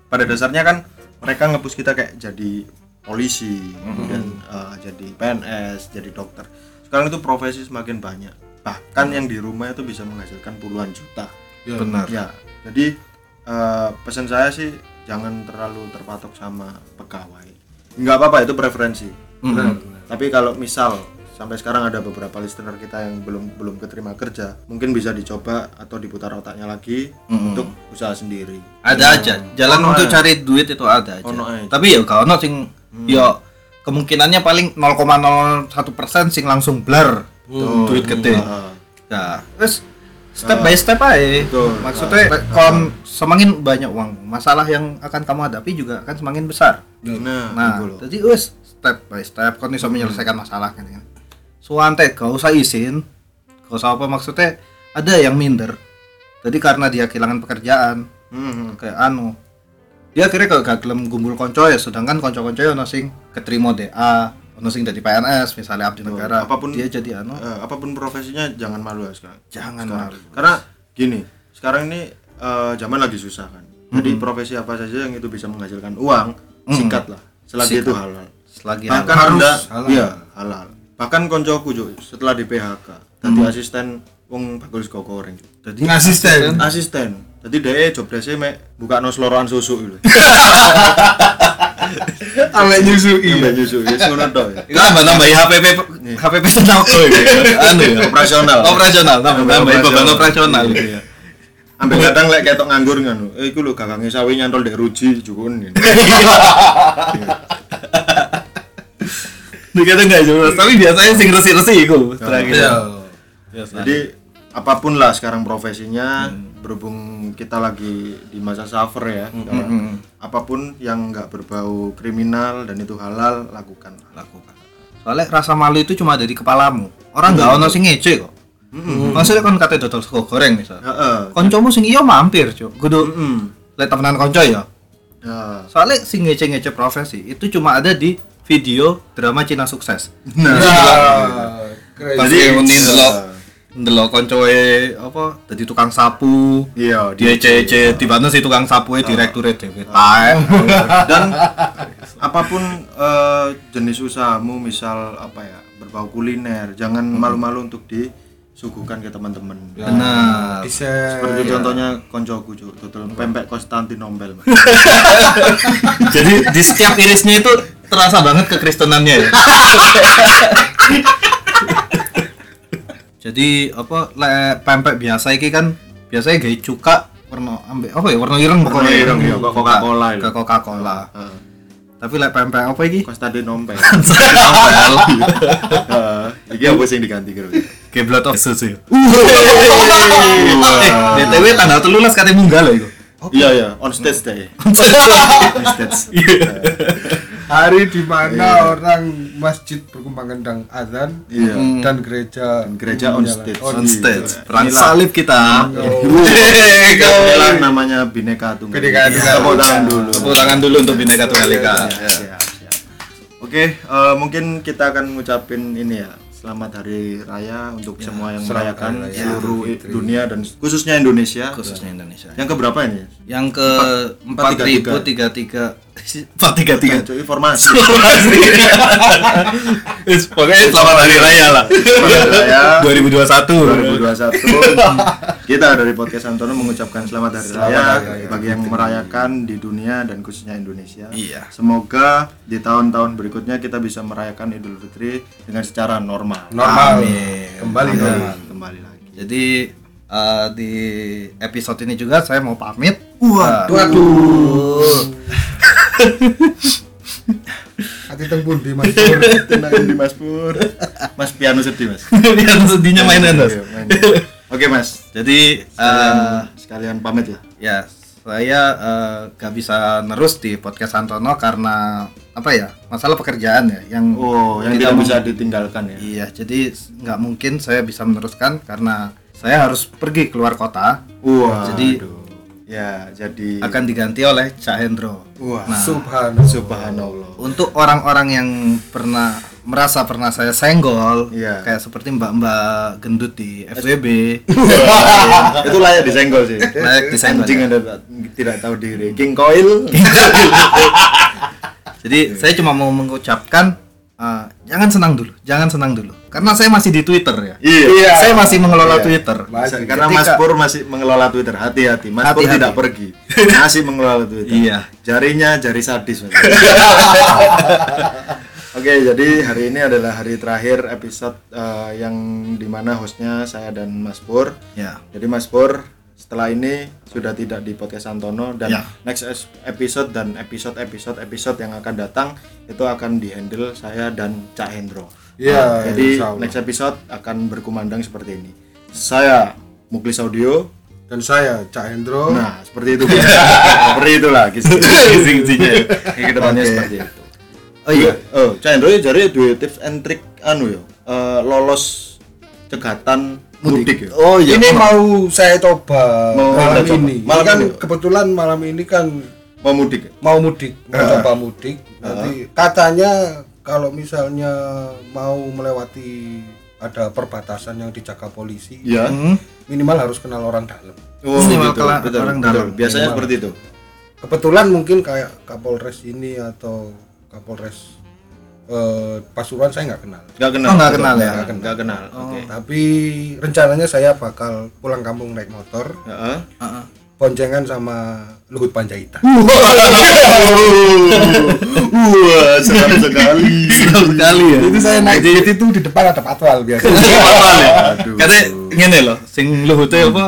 S1: pada dasarnya kan mereka ngepus kita kayak jadi polisi kemudian eh, jadi PNS jadi dokter sekarang itu profesi semakin banyak bahkan yang di rumah itu bisa menghasilkan puluhan juta
S3: Ya.
S1: benar ya jadi eh, pesan saya sih jangan terlalu terpatok sama pegawai nggak apa-apa itu preferensi tapi kalau misal sampai sekarang ada beberapa listener kita yang belum belum keterima kerja, mungkin bisa dicoba atau diputar otaknya lagi untuk usaha sendiri.
S2: ada aja jalan untuk cari duit itu ada aja
S1: Iya. Ono aja. Hmm.
S2: tapi ya kalau ono sing ya kemungkinannya paling 0,01 persen sing langsung blar Gitu. duit gede
S1: Nah,
S2: Nah, terus step by step aja. Maksudnya
S1: Nah.
S2: kon semakin banyak uang, masalah yang akan kamu hadapi juga akan semakin besar.
S1: nah, Hmm.
S2: Nah,
S1: itu loh.
S2: jadi wes step by step kon bisa menyelesaikan masalah kan. kan. Suante gak usah izin, gak usah apa maksudnya ada yang minder. Jadi karena dia kehilangan pekerjaan,
S1: Hmm,
S2: kayak anu dia akhirnya kayak gak gelem gumbul konco ya sedangkan konco-konco ya ono sing keterima DA ono sing dari PNS misalnya abdi negara
S1: apapun-
S2: dia jadi anu
S1: eh, apapun profesinya jangan malu ya sekarang.
S2: jangan
S1: Sekarang.
S2: malu
S1: Karena gini, sekarang ini eh, zaman lagi susah kan. Jadi profesi apa saja yang itu bisa menghasilkan uang, sikat lah. Selagi itu halal.
S2: selagi
S1: bahkan
S3: halal.
S1: anda
S3: Harus halal.
S1: iya halal bahkan koncoku Cuk, setelah di PHK tadi asisten wong bagul sego goreng Cuk.
S2: Jadi
S3: ngasisten
S1: asisten jadi dia job desknya mek buka no seloroan susu gitu
S3: sampai nyusui
S1: sampai susu ya ngono tok ya
S4: Itu tambah tambah HPP HPP tenaga ya. Anu ya.
S1: operasional
S4: Operasional, tambah tambah beban operasional gitu ya.
S1: ambil iya. kadang lek ketok nganggur ngono eh iku lho gagange sawi nyantol dek ruji jukun gitu.
S4: Dikata enggak jelas,
S2: Hmm.
S4: tapi biasanya sing
S2: Ya.
S4: resi-resi iku (laughs) terakhir.
S3: iya
S1: jadi apapun lah sekarang profesinya berhubung kita lagi di masa suffer ya sekarang.
S2: Mm-mm.
S1: apapun yang nggak berbau kriminal dan itu halal lakukan
S2: lakukan soalnya rasa malu itu cuma ada di kepalamu orang nggak ono sing ngece kok maksudnya kon kate dodol sego goreng misal
S1: Heeh.
S2: koncomu sing iya mampir cuk kudu
S1: Mm-mm.
S2: lek temenan konco ya
S1: Ya.
S2: soalnya si ngece-ngece profesi itu cuma ada di video drama Cina sukses
S3: Nah,
S4: Pasti
S3: crazy.
S4: ini
S1: Nah.
S4: ndelok
S2: ndelok koncoe apa jadi tukang sapu
S1: iya dia
S2: dia ece-ece tiba-tiba si tukang
S1: Nah.
S2: sapu
S4: Ya.
S2: direkture dhewe tae
S1: dan apapun eh, jenis usahamu misal apa ya berbau kuliner jangan malu-malu untuk disuguhkan ke teman-teman
S2: bener
S3: Bisa
S1: seperti
S3: Iya.
S1: contohnya koncoku cuk dodol pempek
S3: (laughs)
S1: Konstantinompel Mas.
S2: jadi (laughs) di setiap irisnya itu terasa banget kekristenannya ya jadi apa le, pempek biasa iki kan biasanya gaya cuka warna ambek apa ya warna ireng
S1: Warna ireng, iya, kok Coca-Cola itu. Eh,
S2: ke Coca Cola
S1: Heeh.
S2: tapi lek pempek apa iki
S3: (laughs)
S1: Konstantinompel
S2: Sampel.
S1: Heeh. (laughs) iki apa sih yang diganti kira
S4: Geblot of
S2: ya.
S4: Susu.
S2: eh btw tanggal telulas katanya munggah loh itu
S1: iya iya on stage
S3: (laughs)
S1: deh on stage
S3: hari di mana orang masjid berkumpang kendang azan
S1: Iya.
S3: dan gereja
S1: gereja on
S3: menyala-
S1: stage.
S3: on
S2: on
S1: Iya.
S2: stage
S3: stage.
S2: perang
S1: Inilah.
S2: salib kita
S1: Iya. Ini adalah namanya bineka tunggal
S3: Iya,
S1: Iya.
S3: Bineka Tunggal
S1: Tepuk tangan dulu
S2: tepuk tangan dulu untuk bineka tunggal ika
S1: Siap, siap. Oke, eh, mungkin kita akan ngucapin ini ya. Selamat Hari Raya untuk semua yang
S3: Ya, selamat
S1: merayakan
S3: Hari Raya
S1: seluruh
S3: Idul Fitri.
S1: dunia dan khususnya Indonesia.
S2: khususnya Indonesia
S1: Yang keberapa ini?
S2: yang ke empat ribu tiga tiga (laughs) empat tiga tiga
S1: Bukan, cuy, (laughs) informasi.
S4: Is, Pokoknya selamat hari raya
S2: (laughs)
S4: lah.
S1: Selamat Hari Raya 2021.
S4: 2021.
S1: kita dari podcast Antono mengucapkan selamat Hari Raya bagi yang merayakan di dunia dan khususnya Indonesia.
S2: Iya.
S1: Semoga di tahun-tahun berikutnya kita bisa merayakan Idul Fitri dengan secara normal.
S3: normal kembali normal
S1: Normal, Kembali lagi.
S2: jadi eh, di episode ini juga saya mau pamit Nah,
S3: waduh hati tembun di mas Pur.
S1: Tenangin di Mas Pur. Mas piano sedih, Mas.
S2: (laughs) yang sedihnya mainan Mas.
S1: Iya, (laughs) mainan. Oke, Mas.
S2: jadi eh,
S1: Sekalian, sekalian pamit lah.
S2: ya saya eh, gak bisa nerus di podcast Antono karena apa ya masalah pekerjaan ya yang
S1: Oh, yang tidak bisa ditinggalkan ya.
S2: iya jadi nggak mungkin saya bisa meneruskan karena saya harus pergi keluar kota
S1: Wah.
S2: Jadi-
S1: aduh. Iya. ya, jadi
S2: akan diganti oleh Cak Hendro
S1: wah,
S3: Nah. subhanallah
S1: subhanallah.
S2: untuk orang-orang yang pernah merasa pernah saya senggol
S1: Iya.
S2: kayak seperti mbak-mbak gendut di
S1: (laughs)
S2: FWB
S1: Itu layak disenggol sih.
S2: Layak disenggol,
S1: Anjing
S2: ya.
S1: Anda tak- tidak tahu diri. King
S2: (laughs)
S1: Coil. Iya.
S2: jadi saya cuma mau mengucapkan eh, jangan senang dulu jangan senang dulu karena saya masih di Twitter ya
S1: Iya.
S2: saya masih mengelola Twitter Kan-
S1: Bisa- Karena Mas Pur masih mengelola Twitter. Hati-hati, Mas Pur
S2: Hati-hati.
S1: tidak
S2: (laughs)
S1: pergi. Masih mengelola Twitter.
S2: Iya.
S1: Jarinya jari
S2: (laughs)
S1: sadis. Mas. Oke, jadi hari ini adalah hari terakhir episode eh, yang dimana hostnya saya dan Mas Pur.
S2: ya
S1: Jadi Mas Pur setelah ini sudah tidak di podcast Antono dan
S2: Ya.
S1: next es- episode dan episode episode episode yang akan datang itu akan dihandle saya dan Cak Hendro.
S3: Iya,
S1: Nah, jadi
S3: insya Allah.
S1: next episode akan berkumandang seperti ini. Saya Muklis Audio.
S3: dan saya Cak Hendro
S1: Nah, seperti itu. seperti itulah
S4: Gizing-gizingnya.
S1: Ini kedepannya seperti itu.
S2: oh iya
S1: Oh, Cak Hendro ya jari duwe tips and trick anu ya. eh, lolos cegatan mudik, ya.
S2: oh iya
S3: ini mau saya coba
S1: Mau Anda
S3: malam
S1: coba.
S3: ini
S1: Malam
S3: Ini kan
S1: ini.
S3: kebetulan malam ini kan
S1: Mau mudik. ya?
S3: mau mudik, mau coba mudik. Nanti katanya kalau misalnya mau melewati ada perbatasan yang dijaga polisi,
S1: Iya.
S2: Hmm?
S3: minimal harus kenal orang dalam.
S1: Oh,
S2: Minimal
S1: gitu.
S2: kela-
S1: Betul,
S2: orang
S1: betul.
S2: dalam.
S1: Biasanya seperti itu.
S3: Kebetulan mungkin kayak Kapolres ini atau Kapolres eh, Pasuruan saya nggak kenal.
S1: Enggak kenal.
S2: Oh, nggak
S1: Betul.
S2: kenal ya? Oh.
S1: Nggak kenal. Nggak kenal. Oke.
S3: Tapi rencananya saya bakal pulang kampung naik motor,
S1: Heeh.
S2: Heeh.
S3: boncengan sama Luhut Panjaitan.
S1: Wah, seram sekali.
S2: Senang sekali ya
S3: Itu saya naik Jadi itu di depan (laughs) ada patwal biasa.
S4: Apaan ya?
S1: Aduh.
S4: Katanya ngene loh, sing luhute
S1: Hmm.
S4: apa?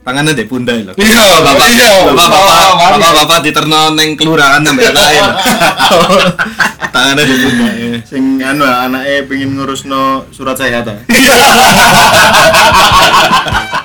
S4: Tangannya di pundai loh.
S2: Iya, bapak,
S4: Iya,
S2: bapak,
S4: bapak,
S2: bapak, bapak, bapak diterno neng kelurahan sampai
S1: (laughs)
S2: lain.
S4: Tangannya di pundai.
S1: Sing anu ah. anaknya pengen ngurusno surat sehat. ya.